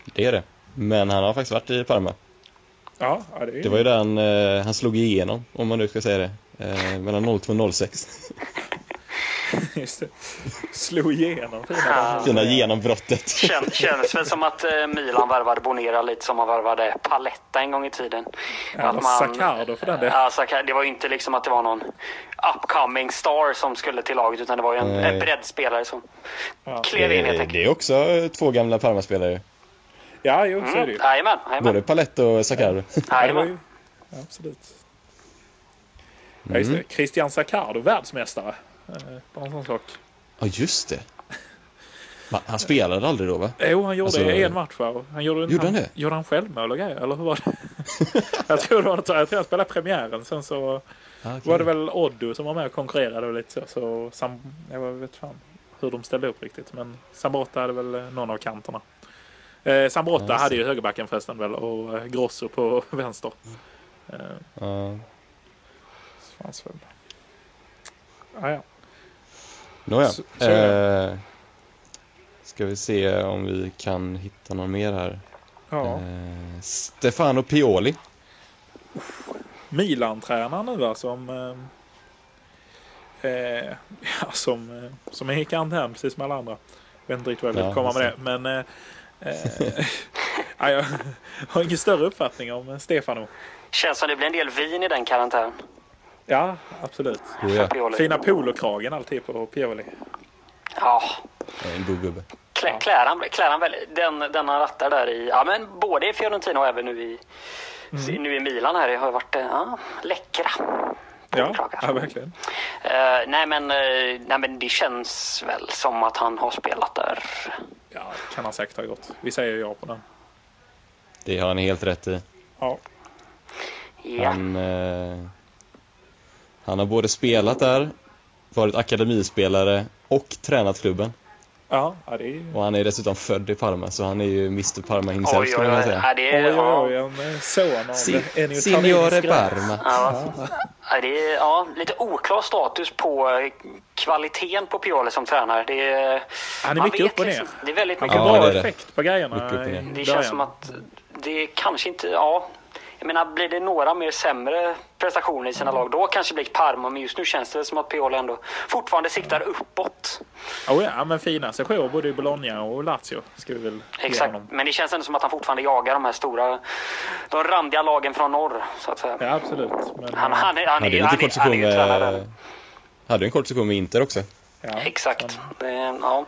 S3: Det är det. Men han har faktiskt varit i Parma.
S1: ja ja, det är
S3: Det var ju där han, eh, han slog igenom, om man nu ska säga det. Eh, mellan 02 och 06.
S1: just det. Slå igenom fina
S2: Ja.
S1: damer.
S3: Fina genombrottet.
S2: Kän, känns väl som att eh, Milan värvade Bonera lite som man värvade Paletta en gång i tiden.
S1: Ja,
S2: att man-
S1: Zaccardo för den delen.
S2: Ja, Zaccardo. Det var ju inte liksom att det var någon upcoming star som skulle till laget utan det var ju en,
S3: Nej.
S2: en breddspelare som
S1: Ja.
S2: klev in helt
S3: Det,
S2: enkelt.
S3: det är också eh, två gamla Parma-spelare ju.
S1: Ja, jo, så är det ju.
S2: Mm, Jajamän,
S3: Både
S2: jajamän.
S3: Palette och Zaccardo.
S1: Ja, det var
S2: jajamän.
S1: ju... ja, absolut. Ja, just
S3: Mm.
S1: det. Christian Zaccardo, världsmästare. Eh, Bara en sån sak.
S3: Ja, just det. Va, Han spelade aldrig då, va?
S1: Jo, han gjorde
S3: Alltså-
S1: en match va? Han gjorde,
S3: Gjorde han det?
S1: Gjorde han självmål och grejer, eller hur var det? jag tror det var något så. Jag tror han spelade premiären. Sen så
S3: Ah,
S1: var det väl Oddo som var med och konkurrerade och lite så. så Sam, jag vet fan hur de ställde upp riktigt. Men Sambrotta hade väl eh, någon av kanterna. Eh, Sambrotta ja, hade ju högerbacken förresten väl och eh, Grosso på vänster. Eh,
S3: Ja.
S1: fanns väl. Ah, ja.
S3: Nåja.
S1: Så- så är
S3: Eh, ska vi se om vi kan hitta någon mer här.
S1: Ja.
S3: Eh, Stefano Pioli.
S1: Milan-tränaren nu va, som... Eh, eh, ja, som, eh, som är i karantän precis som alla andra. Vet inte riktigt vad jag vill
S3: Ja,
S1: komma med det.
S3: just
S1: Men... Eh, eh, ja, jag har ingen större uppfattning om eh, Stefano.
S2: Känns som det blir en del vin i den karantänen.
S1: Ja, absolut.
S3: Oh, ja.
S2: Pioli.
S1: Fina polokragen alltid på Pioli.
S2: Ja.
S3: En god gubbe.
S2: Klä, klär, han, klär han väl den, den han rattar där i, ja men både i Fiorentina och även nu i,
S1: Mm.
S2: nu i Milan här har ju vavarit eh, ja, läckra.
S1: Ja,
S2: Polkragar.
S1: ja, verkligen.
S2: Eh, nej, men, eh, nej men det känns väl som att han har spelat där.
S1: Ja, det kan han säkert ha gjort. Vi säger ja på den.
S3: Det har han helt rätt i.
S1: Ja,
S2: Ja.
S3: Han, eh, han har både spelat där, varit akademispelare och tränat klubben.
S1: ja, ja det är ju...
S3: Och han är dessutom född i Parma, så han är ju Mr Parma
S2: Oj,
S3: himself
S2: oj,
S3: skulle man kunna
S2: oj.
S3: säga.
S2: Ja, det
S1: Oj,
S2: är,
S1: oj, oj,
S2: ja,
S1: en eh, son av
S3: Si-
S1: Ennio
S3: Signore
S1: Tarvinis granne.
S3: Parma.
S2: ja, ja, det är ja, lite oklar status på eh, kvaliteten på Pioli som tränare. Det är,
S1: Han är
S2: man
S1: mycket
S2: vet
S1: upp och ner.
S2: liksom- Det är väldigt
S1: Han
S2: mycket
S1: får
S3: Ja,
S2: bra
S1: bra
S3: det är det.
S1: effekt på grejerna.
S3: Mycket upp och ner.
S1: i
S2: Det
S1: början.
S2: känns som att det kanske inte, ja. Jag menar, blir det några mer sämre prestationer i sina lag, då kanske det blir Parma. Men just nu känns det som att Pioli ändå fortfarande siktar uppåt.
S1: Oh ja, men fina sessioner både i Bologna och Lazio. Ska vi väl ge
S2: Exakt.
S1: honom.
S2: Men det känns ändå som att han fortfarande jagar de här stora, de randiga lagen från norr, så att säga.
S1: Ja, absolut. Men,
S2: Han, han, är- han,
S3: Hade
S2: är-
S3: ju
S2: han,
S3: lite
S2: är-
S3: kort
S2: han är
S3: session
S2: ju tränare.
S3: med... Hade ju en kort session med Inter också.
S1: ja,
S2: Exakt.
S1: men-
S2: Det, ja.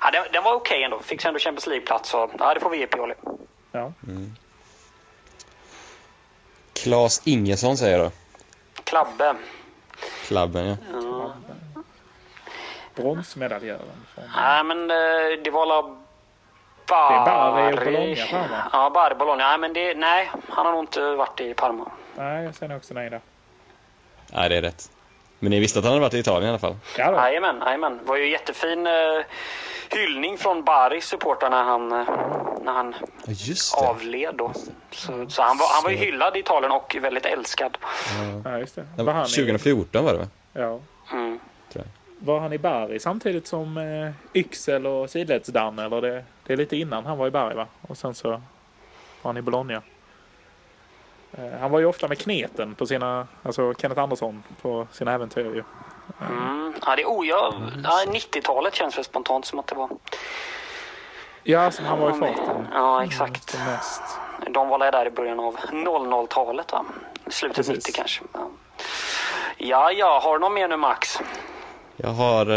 S2: Ja, den, den var okej ändå. Fick sig ändå Champions League-plats. så, Ja, det får vi ge Pioli.
S1: Ja.
S3: Klas Ingesson säger jag då.
S2: Klabbe.
S3: Klabben ja.
S1: Bronsmedaljören. från-
S2: Nej, men eh, det var la
S1: Det
S2: Bari.
S1: är Bari och Bologna, Parma.
S2: Ja, Bari Bologna. Nej, men det, nej, han har nog inte varit i Parma.
S1: Nej, jag säger nog också nej där.
S3: Nej, det är rätt. Men ni visste att han hade varit i Italien i alla fall?
S1: Ja, då.
S2: Jajamän, jajamän. Det var ju jättefin eh, hyllning från Baris supportrar när han, eh, när han
S3: Ja, just det.
S2: avled. Då. Så, så han, var, han var ju hyllad i Italien och väldigt älskad.
S1: Ja, just det.
S3: Den
S1: Var han, i,
S3: 2014 var det va?
S1: ja.
S2: Mm.
S3: Tror jag.
S1: var han i Bari samtidigt som eh, Yxel och Sidledsdan? Eller det, det är lite innan han var i Bari, va? Och sen så var han i Bologna. Eh, han var ju ofta med kneten på sina, alltså Kenneth Andersson på sina äventyr ju.
S2: Mm. Ja, det är oh, jag, ja, 90-talet känns väl spontant som att det var.
S1: Ja, som han var i farten.
S2: Ja, exakt.
S1: Som mest.
S2: De var där i början av 00-talet, va? Slutet
S1: Precis.
S2: 90 kanske. Ja. ja, ja. Har du någon mer nu, Max?
S3: Jag har, eh,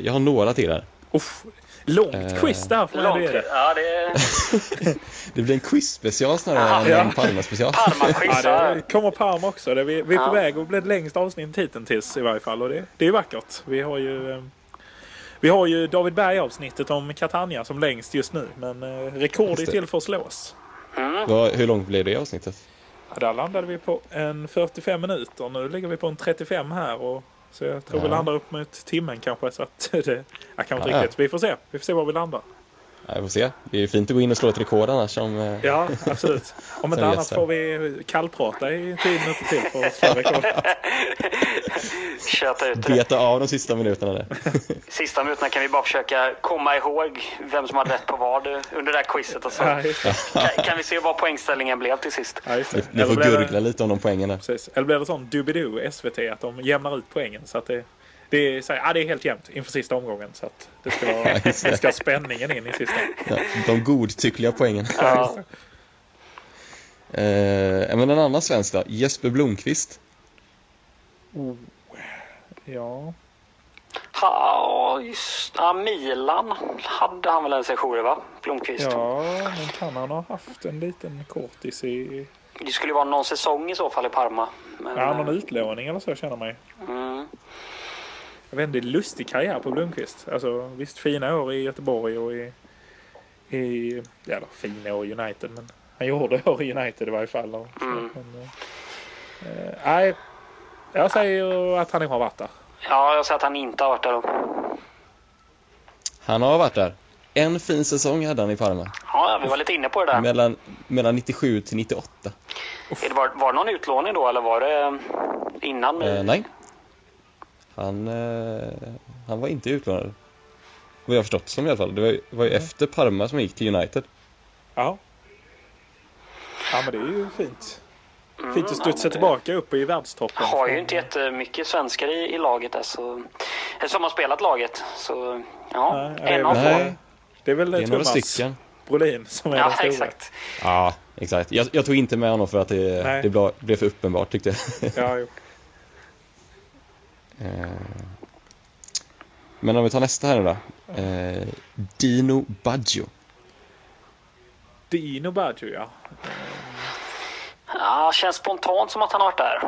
S3: jag har några till här.
S1: Uff, långt
S3: Eh,
S1: quiz där för mig.
S2: Långt.
S1: Det är det.
S2: Ja, det är
S3: Det blir en quiz-special snarare
S2: Aha,
S3: än
S1: ja.
S3: en Palme-special.
S1: Ja,
S2: Parma-quiz.
S1: det kommer Parma också. Det, vi, vi är på
S2: Ja.
S1: väg att bli ett längst avsnitt hittills i varje fall. Och det, det är vackert. Vi har ju, eh, vi har ju David Berg-avsnittet om Catania som längst just nu. Men eh, rekord är
S3: Just det.
S1: till för att slås.
S3: Vad- Hur långt blev det avsnittet?
S1: Ja, där landade vi på en 45 minuter. Nu ligger vi på en 35 här. Och, så jag tror vi
S3: Ja.
S1: landar upp mot timmen kanske. Så att det, jag kan inte
S3: Ja.
S1: riktigt. Vi får se. Vi får se var vi landar.
S3: Ja, vi får se. Det är fint att gå in och slå ett rekord annars. Om, eh,
S1: Ja, absolut. Om inte
S3: Sen
S1: annat
S3: reser.
S1: får vi kallprata i tio minuter till för att slå rekord.
S2: Köta ut det.
S3: Beta av de sista minuterna där.
S2: Sista minuterna kan vi bara försöka komma ihåg vem som hade rätt på vad eh, under det här quizet. Och så.
S1: Ja, just det.
S2: Kan, kan vi se vad poängställningen blev till sist?
S1: Ja, just det.
S3: Ni får
S1: Eller blir det-
S3: gurgla lite om de poängen där.
S1: Precis. Eller blir det sån Doobidoo SVT att de jämnar ut poängen så att det, det, är, så här, ja, det är helt jämnt inför sista omgången så att det ska, vara, det ska spänningen in i sista.
S3: Ja, de godtyckliga poängen.
S2: Ja.
S3: Eh, men en annan svensk då? Jesper Blomqvist.
S1: Ja,
S2: Ha, just, ja, Milan hade han väl en session va? Blomqvist.
S1: ja, men kan han ha haft en liten kortis i...
S2: Det skulle ju vara någon säsong i så fall i Parma. Men,
S1: Ja, någon
S2: eh,
S1: utlåning eller så känner man ju.
S2: mm,
S1: Jag vet inte, det är en lustig karriär på Blomqvist. Alltså, visst, fina år i Göteborg och i... i ja, eller fina år i United, men han gjorde år i United i varje fall. Och, så,
S2: Mm.
S1: men, eh, eh, nej, jag säger att han har varit där.
S2: ja, jag säger att han inte har varit där då.
S3: Han har varit där. En fin säsong hade han i Parma.
S2: Ja, vi var lite inne på det där.
S3: Mellan, mellan 97 till 98.
S2: Är det- Var, var det någon utlåning då eller var det eh, innan?
S3: Eh, nej. Han, eh, han var inte utlånad. Vad jag har förstått som i alla fall. Det var ju, var ju
S1: Mm.
S3: efter Parma som han gick till United.
S1: Ja. Ja, men det är ju fint. Fint att
S2: Mm, ja, men
S1: studsa
S2: det-
S1: tillbaka uppe i världstoppen.
S2: Jag har ju inte jättemycket svenskar i, i laget där, så, eh, som har spelat laget. Så ja,
S1: Nej, det är
S2: en av
S1: väl-
S2: få.
S3: Nej,
S1: Det är väl
S3: det är några
S1: Thomas
S3: stycken.
S1: Brolin som är
S2: Ja,
S1: den stora.
S2: exakt.
S3: Ja, exakt. Jag, jag tog inte med honom för att det,
S1: Nej.
S3: det bla- blev för uppenbart tyckte jag.
S1: Ja, jo.
S3: Eh, Men om vi tar nästa här nu då. Eh, Dino Baggio.
S1: Dino Baggio, ja.
S2: Ja, känns spontant som att han har varit där.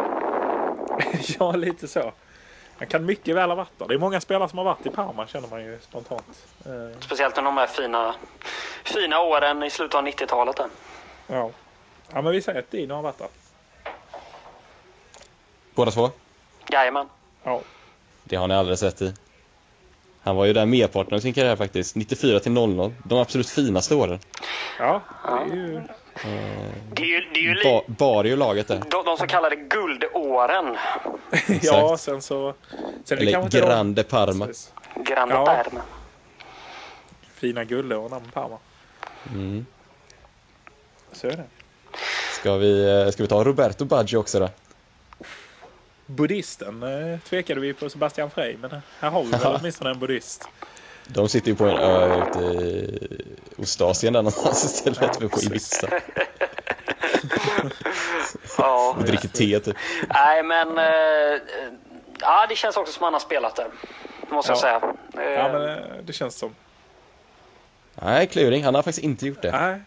S1: ja, lite så. Han kan mycket väl ha varit där. Det är många spelare som har varit i Parma känner man ju spontant. Eh,
S2: Speciellt under de här fina, fina åren i slutet av 90-talet. där.
S1: ja. ja, men vi säger att Dino har varit där.
S3: Båda två?
S2: Jajamän.
S1: Ja,
S3: Det har ni alldeles rätt i. Han var ju där merparten av sin karriär faktiskt. 94 till 00. De absolut finaste åren.
S1: ja det är ju...
S2: Det är ju, det är ju li-
S3: Ba, bar ju laget där.
S2: de, de så kallade guldåren.
S1: Ja, sen så... Sen är det kanske
S3: Eller
S1: inte de-
S3: Grande Parma.
S1: Precis.
S2: Grande
S1: Ja.
S2: Parma.
S1: Fina guldåren med Parma.
S3: Mm.
S1: Så är det.
S3: Ska vi, eh, ska vi ta Roberto Baggio också då?
S1: Buddhisten eh, tvekade vi på Sebastian Frey, men här har vi väl åtminstone en buddhist.
S3: De sitter ju på en ö ute i Ostasien där någonstans istället för på Ibiza.
S2: Ja.
S3: Och dricker te typ.
S2: Nej, men... eh, eh, ja, det känns också som han har spelat där. Måste jag
S1: Ja.
S2: säga. Eh,
S1: Ja, men eh, det känns som...
S3: Nej, kluring. Han har faktiskt inte gjort det.
S1: Nej.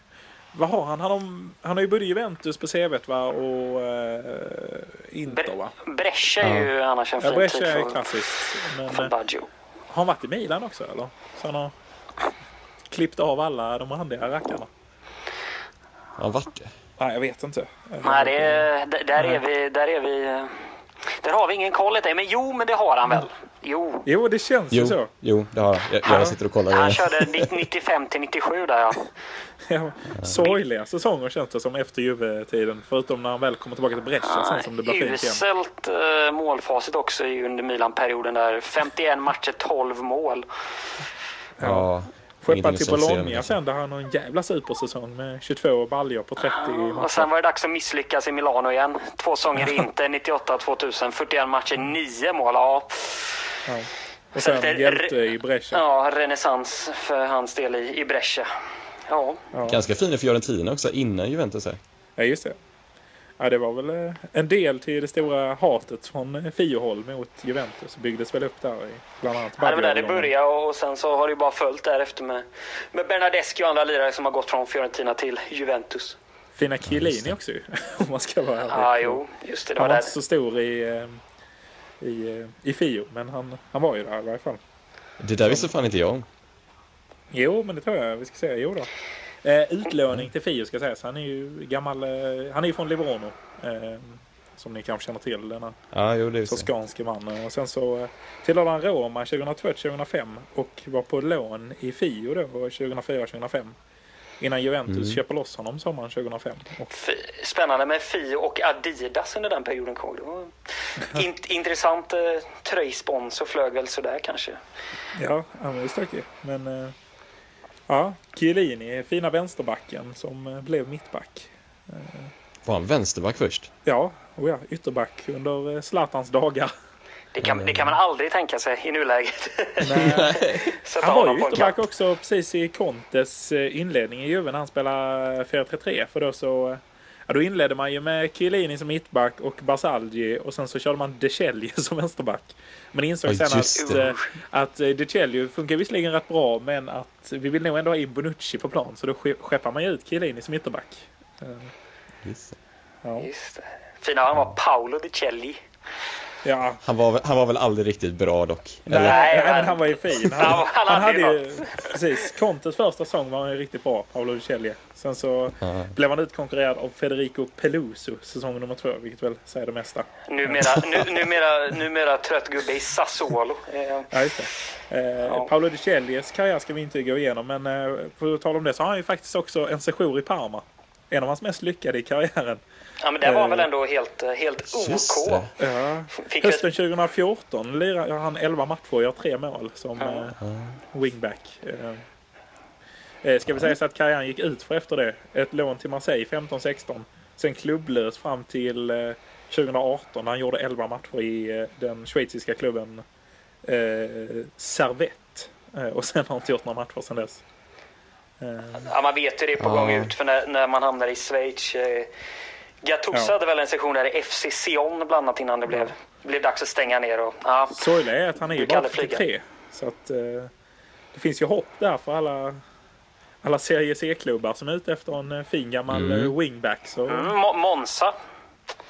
S1: Vad har han? Han har, han har ju både Juventus på CVt va? och eh, Inter va?
S2: Bre- Brescia är ju annars en
S1: Ja,
S2: fin tid
S1: Brescia är
S2: för,
S1: klassiskt. Men
S2: för
S1: eh,
S2: Baggio.
S1: har han varit i Milan också eller? Så han har klippt av alla de randiga rackarna?
S3: Har han varit det?
S1: Nej, jag vet inte.
S2: Nej, det, är- d- där är vi... Där är vi eh, där har vi ingen koll. inte. Men jo, men det har han väl? Jo.
S1: Jo, det känns ju så.
S3: Jo, jo det har han. Jag, jag sitter och kollar.
S2: Han körde 95 till 97 där ja.
S1: Ja, sorgliga säsonger känns det som efter Juve-tiden. Förutom när han väl kommer tillbaka till Brescia sen som det blir fint igen.
S2: Uselt eh, målfacit också i- under Milan-perioden där. 51 matcher, 12 mål.
S3: Ja.
S1: Skeppad
S3: ingenting
S1: till
S3: som ser
S1: Bologna
S3: honom.
S1: sen där han har en jävla supersäsong med 22 baljor på 30
S2: Och
S1: matcher.
S2: sen var det dags att misslyckas i Milano igen. Två säsonger inte, 98-2000, 41 matcher, 9 mål. Ja,
S1: Ja. Och sen
S2: Sen-
S1: hjälte i Brescia.
S2: ja renässans för hans del i, i Brescia. Ja,
S1: Ja.
S3: Ganska fin i Fiorentina också, innan Juventus här.
S1: ja, just det. Ja, det var väl eh, en del till det stora hatet från eh, Fiohåll mot Juventus. Byggdes väl upp där i bland annat
S2: Ja, det var där det
S1: Baggio-övergången.
S2: började och sen så har det ju bara följt därefter med, med Bernadeschi och andra lirare som har gått från Fiorentina till Juventus.
S1: Fina Chiellini också ju, om man ska vara ärlig.
S2: Ja, ah, jo, just det. Det
S1: han
S2: var
S1: var
S2: där.
S1: inte så stor i, eh, i, eh, i Fio, men han, han var ju där i varje fall.
S3: Det där visste fan inte jag om.
S1: Jo, men det tror jag vi ska säga. Jo då. Eh, utlåning till Fio ska sägas. Han är ju gammal. Eh, han är ju från Livorno. Eh, som ni kanske känner till. Denna
S3: Ja, jo, det visste jag.
S1: toskanske mannen. Och sen så eh, tillhörde han Roma 2002-2005. Och var på lån i Fio då 2004-2005. Innan Juventus köper loss honom sommaren 2005. Och,
S2: F- Spännande med Fi och Adidas under den perioden. kommer jag ihåg. Det var in- intressant eh, tröjspons och flög väl sådär kanske.
S1: ja, han var ju stökig. Men eh, ja, Chiellini, fina vänsterbacken som eh, blev mittback.
S3: Var han vänsterback först?
S1: Ja, och ja, ytterback under eh, Zlatans dagar.
S2: Det kan, det kan man aldrig tänka sig i nuläget. Sätta
S1: Han var
S2: honom
S1: ju
S2: på en
S1: ytterback
S2: kant.
S1: också precis i Contes eh, inledning i Juve när han spelade 4-3-3. För då så... eh, Ja, då inledde man ju med Chiellini som mittback och Basalgi och sen så körde man Decelio som vänsterback. Men insåg
S3: Ja,
S1: sen
S3: just
S1: att,
S3: det.
S1: eh, att eh, Decelio funkar visserligen rätt bra men att vi vill nog ändå ha in Bonucci på plan så då ske- skeppar man ju ut Chiellini som ytterback.
S3: Just det.
S1: Ja.
S2: Just det. Fina han var Paolo Di Celli.
S1: Ja.
S3: Han var, han var väl aldrig riktigt bra dock?
S1: Nej,
S3: Eller?
S1: nej,
S2: men-
S1: men han var ju fin.
S2: Han
S1: Han,
S2: var- han
S1: han
S2: hade
S1: hade
S2: ju
S1: ju... Precis. Contes första sång var han ju riktigt bra, Paolo Lucelli. Sen så
S3: Ja.
S1: blev han utkonkurrerad av Federico Peluso säsong nummer två, vilket väl säger det mesta.
S2: Numera, nu, numera, numera trött gubbe i Sassuolo. Eh,
S1: Ja, just det. Eh, Paolo Ducellis karriär ska vi inte gå igenom, men eh, på tal om det så har han ju faktiskt också en sejour i Parma. En av hans mest lyckade i karriären.
S2: Ja, men det var han väl ändå helt, eh, helt
S3: Just
S2: OK.
S3: det.
S1: Ja.
S2: Fick väl-
S1: Hösten 2014 lirar gör han 11 matcher och gör tre mål som eh, wingback. Eh, eh, ska vi säga så att karriären gick ut för efter det. Ett lån till Marseille 15-16. Sen klubblös fram till eh, 2018 när han gjorde 11 matcher i eh, den schweiziska klubben eh, Servette. Eh, och sen har han inte gjort några matcher sen dess. Eh,
S2: Ja, man vet ju det är på
S3: Ja.
S2: gång ut för när, när man hamnar i Schweiz. Eh, Gattuso
S1: Ja.
S2: hade väl en session där i FC Sion bland annat innan det blev, blev dags att stänga ner. Och, ja.
S1: sorgliga är att han är
S2: Du
S1: ju
S2: kan
S1: bara
S2: aldrig flyga.
S1: 43. Så att eh, det finns ju hopp där för alla, alla Serie C-klubbar som är ute efter en eh, fin gammal eh, wingback. Så,
S2: Mm, Mo- Monza,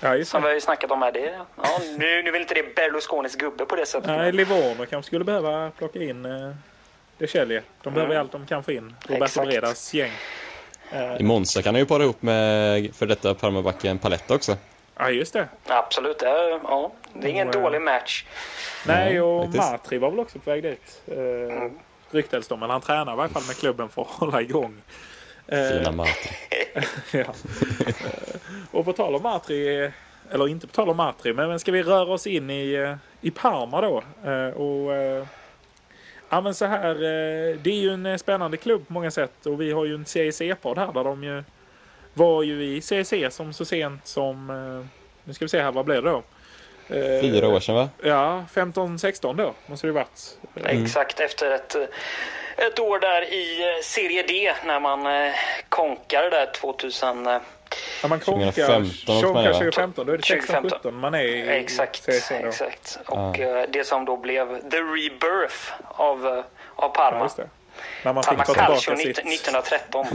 S1: ja, just
S2: som vi
S1: det.
S2: har ju snackat om här. Det, ja, nu, nu vill inte det Berlusconis gubbe på det sättet.
S1: Nej, Livorno kanske skulle behöva plocka in eh, det Kjellje. De behöver ju allt de kan få in. Roberto
S2: Exakt.
S1: Bredas gäng.
S3: I Monza kan han ju para ihop med för detta Parmabacken Paletta också.
S1: Ja, just det.
S2: Absolut, det är, ja, det är ingen
S1: Mm.
S2: dålig match.
S1: Nej, och
S3: riktigt.
S1: Matri var väl också på väg dit. Eh, ryktades de. Men han tränar i varje fall med klubben för att hålla igång. Eh,
S3: Fina Matra.
S1: Ja. Eh, och på tal om Matri, eller inte på tal om Matri, men men ska vi röra oss in i, eh, i Parma då? Eh, Och, eh, ja men så här, eh, det är ju en eh, spännande klubb på många sätt och vi har ju en CIC-podd här där de ju var ju i CIC som så sent som, eh, nu ska vi se här, vad blev det då? Eh,
S3: Fyra år sedan va?
S1: Ja, 15-16 då måste det ju varit.
S2: Exakt, efter ett, eh, ett år där i eh, Serie D när man eh, konkade där 2000. eh,
S1: När man konkar
S3: 2015 åkte man det, va?
S1: 2015, då är det 16-17 man är i
S2: Exakt,
S1: CIC då.
S2: exakt. Och eh, det som då blev the rebirth av, eh, av
S1: Ja,
S2: Parma.
S1: just det. När man
S2: Parma
S1: fick ta
S2: Calcio
S1: tillbaka
S2: 19-
S1: sitt...
S2: 1913.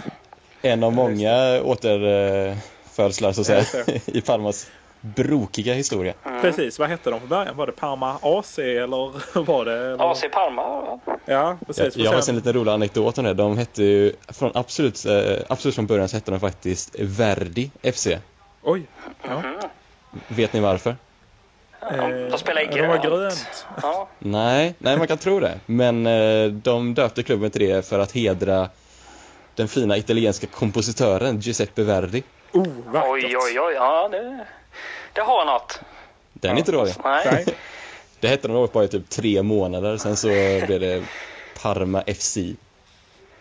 S3: En av många återfödslar så att
S1: Ja,
S3: säga i Parmas brokiga historia.
S1: Precis, vad hette de från början? Var det Parma AC eller var det... Eller?
S2: AC Parma. ja.
S1: Ja, precis.
S3: Jag har
S1: Och
S3: faktiskt en liten rolig anekdot om det. De hette ju, från absolut, eh, absolut från början så hette de faktiskt Verdi FC.
S1: Oj! Ja.
S3: Vet ni varför?
S1: Eh,
S2: de spelar i
S1: De var
S2: grönt.
S1: grönt.
S2: Ja.
S3: Nej, nej man kan tro det. Men eh, de döpte klubben till det för att hedra den fina italienska kompositören Giuseppe Verdi.
S1: Oh, vackert!
S2: Oj, oj, oj. Ja, det, det har något.
S3: Den är inte dålig.
S2: Nej.
S1: Nej,
S3: Det hette de åt bara i typ tre månader, sen så blev det Parma FC.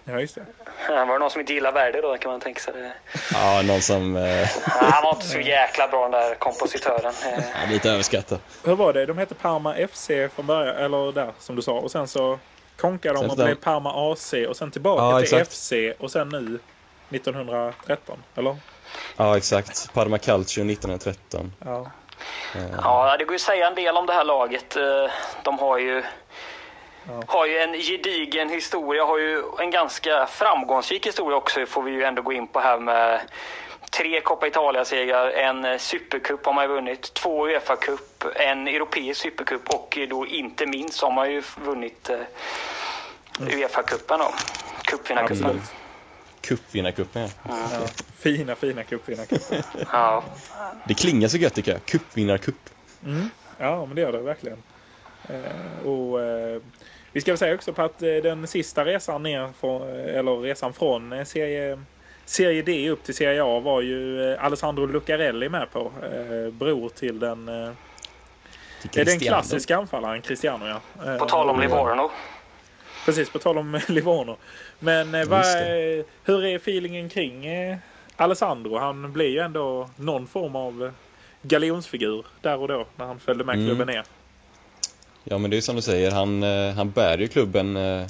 S1: ja, just det.
S2: Var det någon som inte gillar Verdi då kan man tänka sig. Det.
S3: Ja, någon som... Eh,
S2: Ja, Han var inte så jäkla bra den där kompositören. Eh,
S3: ja, lite överskattad.
S1: Hur var det? De hette Parma FC från början, eller där som du sa. Och sen så konkade de
S3: Sen
S1: och
S3: så-
S1: blev Parma AC och sen tillbaka
S3: Ja,
S1: till
S3: exakt.
S1: FC och sen nu 1913, eller?
S3: Ja, exakt. Parma Calcio 1913.
S1: Ja.
S2: Ja, det går ju att säga en del om det här laget. Eh, De har ju, har ju en gedigen historia, har ju en ganska framgångsrik historia också får vi ju ändå gå in på här med tre Coppa Italia-segrar, en eh, supercup har man ju vunnit, två Uefa-cup, en europeisk supercup och eh, då inte minst har man ju vunnit eh, Uefa-cupen då. Cupvinnarcupen.
S1: Mm. Absolut.
S3: Cupvinnarcupen, ja.
S1: Ja. Fina, fina cupvinnarcuper.
S2: Ja.
S3: Det klingar så gött tycker jag. Cupvinnarcup.
S1: Ja, men det gör det verkligen. Eh, och, eh, vi ska väl säga också på att eh, den sista resan ner från, eh, eller resan från eh, serie, serie D upp till Serie A var ju eh, Alessandro Lucarelli med på. Eh, bror till den, eh, är
S3: Till
S1: den
S3: Cristiano.
S1: klassiska anfallaren Cristiano. Ja. Eh,
S2: På tal om Livorno.
S1: Precis, på tal om eh, Livorno. Men eh, vad,
S3: Just
S1: eh, hur är feelingen kring eh, Alessandro? Han blir ju ändå någon form av eh, galjonsfigur där och då när han följde
S3: Mm.
S1: med klubben ner.
S3: Ja, men det är som du säger. Han, eh, han bär ju klubben eh,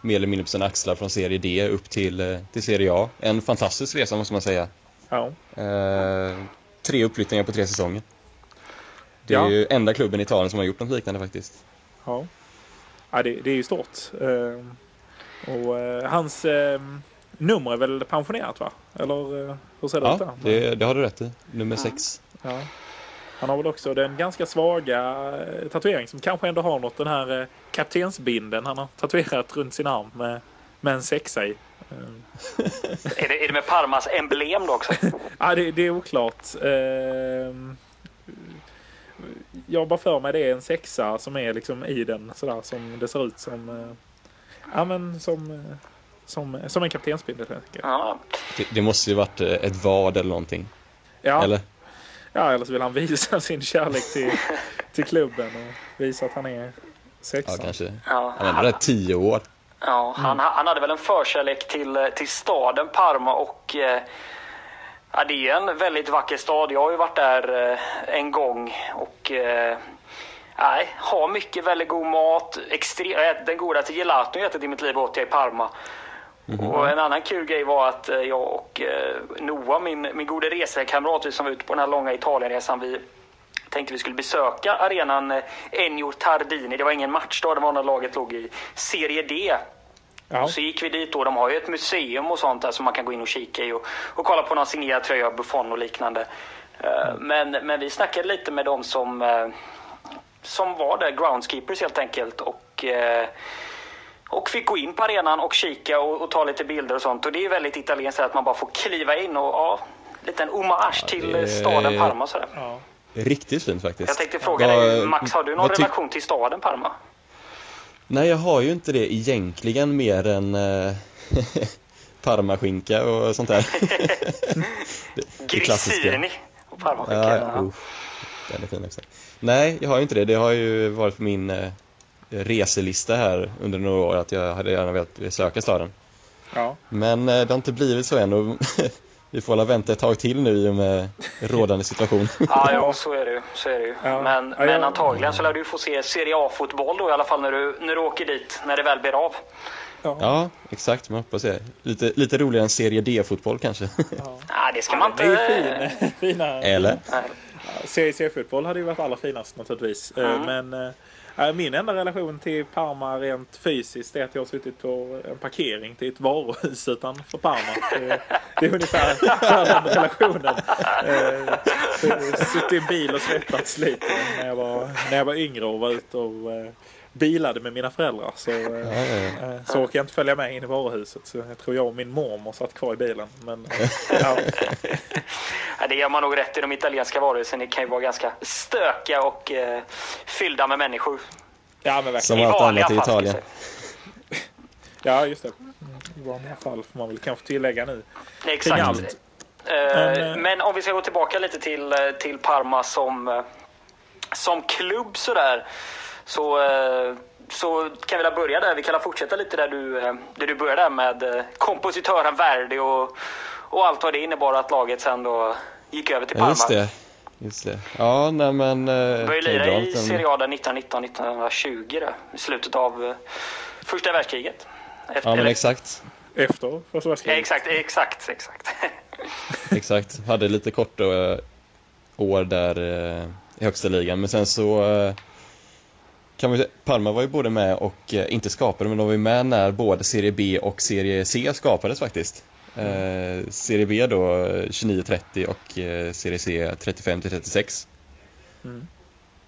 S3: mer eller mindre på sina axlar från Serie D upp till, eh, till Serie A. En fantastisk resa måste man säga.
S1: Ja.
S3: Eh, tre uppflyttningar på tre säsonger. Det är
S1: Ja.
S3: ju enda klubben i Italien som har gjort något liknande faktiskt.
S1: Ja, ja det, det är ju stort. Ehm, och eh, hans ehm, nummer är väl pensionerat va? Eller eh, hur ser det ut
S3: Ja,
S1: där?
S3: det, det har du rätt i. Nummer sex.
S1: Ja. Han har väl också den ganska svaga eh, tatuering som kanske ändå har något. Den här eh, kaptensbinden han har tatuerat runt sin arm med, med en sexa i.
S2: Är det, är det med Parmas emblem då också?
S1: Ja, det, det är oklart. Ehm, jag har bara för mig det är en sexa som är liksom i den sådär som det ser ut som. eh, Ja men som, eh, som, som en kaptensbindel helt enkelt.
S2: Ja.
S3: Det, det måste ju varit eh, ett vad eller någonting.
S1: Ja,
S3: Eller?
S1: ja, eller så vill han visa sin kärlek till, till klubben och visa att han är
S3: Ja,
S1: sexan.
S3: kanske.
S2: Ja,
S3: Han var där tio år.
S2: Ja, han, han hade väl en förkärlek till, eh, till staden Parma och eh, ja, det är en väldigt vacker stad. Jag har ju varit där eh, en gång och eh, nej, har mycket väldigt god mat. Extre- jag har ätit den godaste gelaton jag ätit i mitt liv åt jag i Parma. Och en annan kul grej var att eh, jag och eh, Noah, min, min gode resekamrat, vi som var ute på den här långa Italienresan, vi tänkte vi skulle besöka arenan eh, Ennio Tardini. Det var ingen matchdag, det var när laget låg i Serie D.
S1: Ja.
S2: Och så gick vi dit då. De har ju ett museum och sånt där som man kan gå in och kika i och, och kolla på någon signerad tröja, buffon och liknande. Eh,
S3: Mm.
S2: Men, men vi snackade lite med dem som, eh, som var där, groundskeepers helt enkelt. Och, eh, och fick gå in på arenan och kika och, och ta lite bilder och sånt. Och det är ju väldigt italienskt att man bara får kliva in och ja, liten hommage till
S3: det-
S2: staden Parma och sådär.
S1: Ja.
S3: Riktigt fint faktiskt.
S2: Jag tänkte fråga
S3: Vad-
S2: dig, Max, har du någon
S3: vad tyck-
S2: relation till staden Parma?
S3: Nej, jag har ju inte det egentligen mer än eh, parmaskinka och sånt där. Det är klassiska.
S2: Grissini och Parma.
S3: Ja,
S2: Ja.
S3: usch. Den är fin också. Nej, jag har ju inte det. Det har ju varit på min eh, reselista här under några år att jag hade gärna velat besöka staden.
S1: Ja.
S3: Men eh, det har inte blivit så än och vi får väl vänta ett tag till nu i och med rådande situation.
S2: Ja, ja så är det ju. Så är det ju.
S1: Ja.
S2: Men,
S1: Ja,
S2: men
S1: ja.
S2: antagligen så lär du få se Serie A-fotboll då i alla fall när du, när du åker dit, när det väl blir av.
S3: Ja, exakt. Man hoppas det. Lite, lite roligare än Serie D-fotboll kanske.
S2: Nej, det ska man
S1: Det
S2: inte...
S1: är ju fin, fina.
S3: Eller?
S2: Nej.
S1: CIC-fotboll hade ju varit allra finast naturligtvis. Eh, Men eh, eh, min enda relation till Parma rent fysiskt är att jag har suttit på en parkering till ett varuhus utanför Parma. Det, det är ungefär ungefär den relationen. Eh, eh, Suttit i en bil och svettats lite när jag var, när jag var yngre och var ute och eh, bilade med mina föräldrar. Så, eh,
S3: Ja, ja, ja.
S1: eh, så orkade jag inte följa med in i varuhuset. Så jag tror jag och min mormor satt kvar i bilen. Men, eh, ja,
S2: Nej, det gör man nog rätt i. De italienska varuhusen det kan ju vara ganska stökiga och eh, fyllda med människor.
S1: ja, men verkligen.
S3: Som allt
S2: vanliga
S3: annat i
S2: fall, ska jag
S3: Italien.
S2: säga.
S1: Ja, just det. Mm, I vanliga fall får man väl kanske tillägga nu. Kring
S2: Exakt.
S1: allt.
S2: Eh,
S1: Men, eh,
S2: men om vi ska gå tillbaka lite till, eh, till Parma som, eh, som klubb sådär. Så, eh, så kan vi väl börja där. Vi kan väl fortsätta lite där du, eh, där du började med eh, kompositören Verdi och, och allt vad det innebar att laget sen då gick över till
S3: Ja,
S2: Parma.
S3: just det. Just det. Ja, nej men... eh,
S2: Började
S3: okej,
S2: lira
S3: bra.
S2: i
S3: Den-
S2: Serie A där 1919-1920 där, i slutet av eh, första världskriget. Efter,
S3: Ja, men
S2: eller-
S3: exakt.
S1: Efter första
S2: Ja,
S1: världskriget.
S2: exakt, exakt, exakt.
S3: Exakt. Hade lite korta eh, år där eh, i högsta ligan, men sen så... eh, Kan vi, Parma var ju både med och, eh, inte skapade, men de var ju med när både Serie B och Serie C skapades faktiskt. Eh, serie B då eh, 29-30 och eh, Serie C 35-36.
S1: Mm.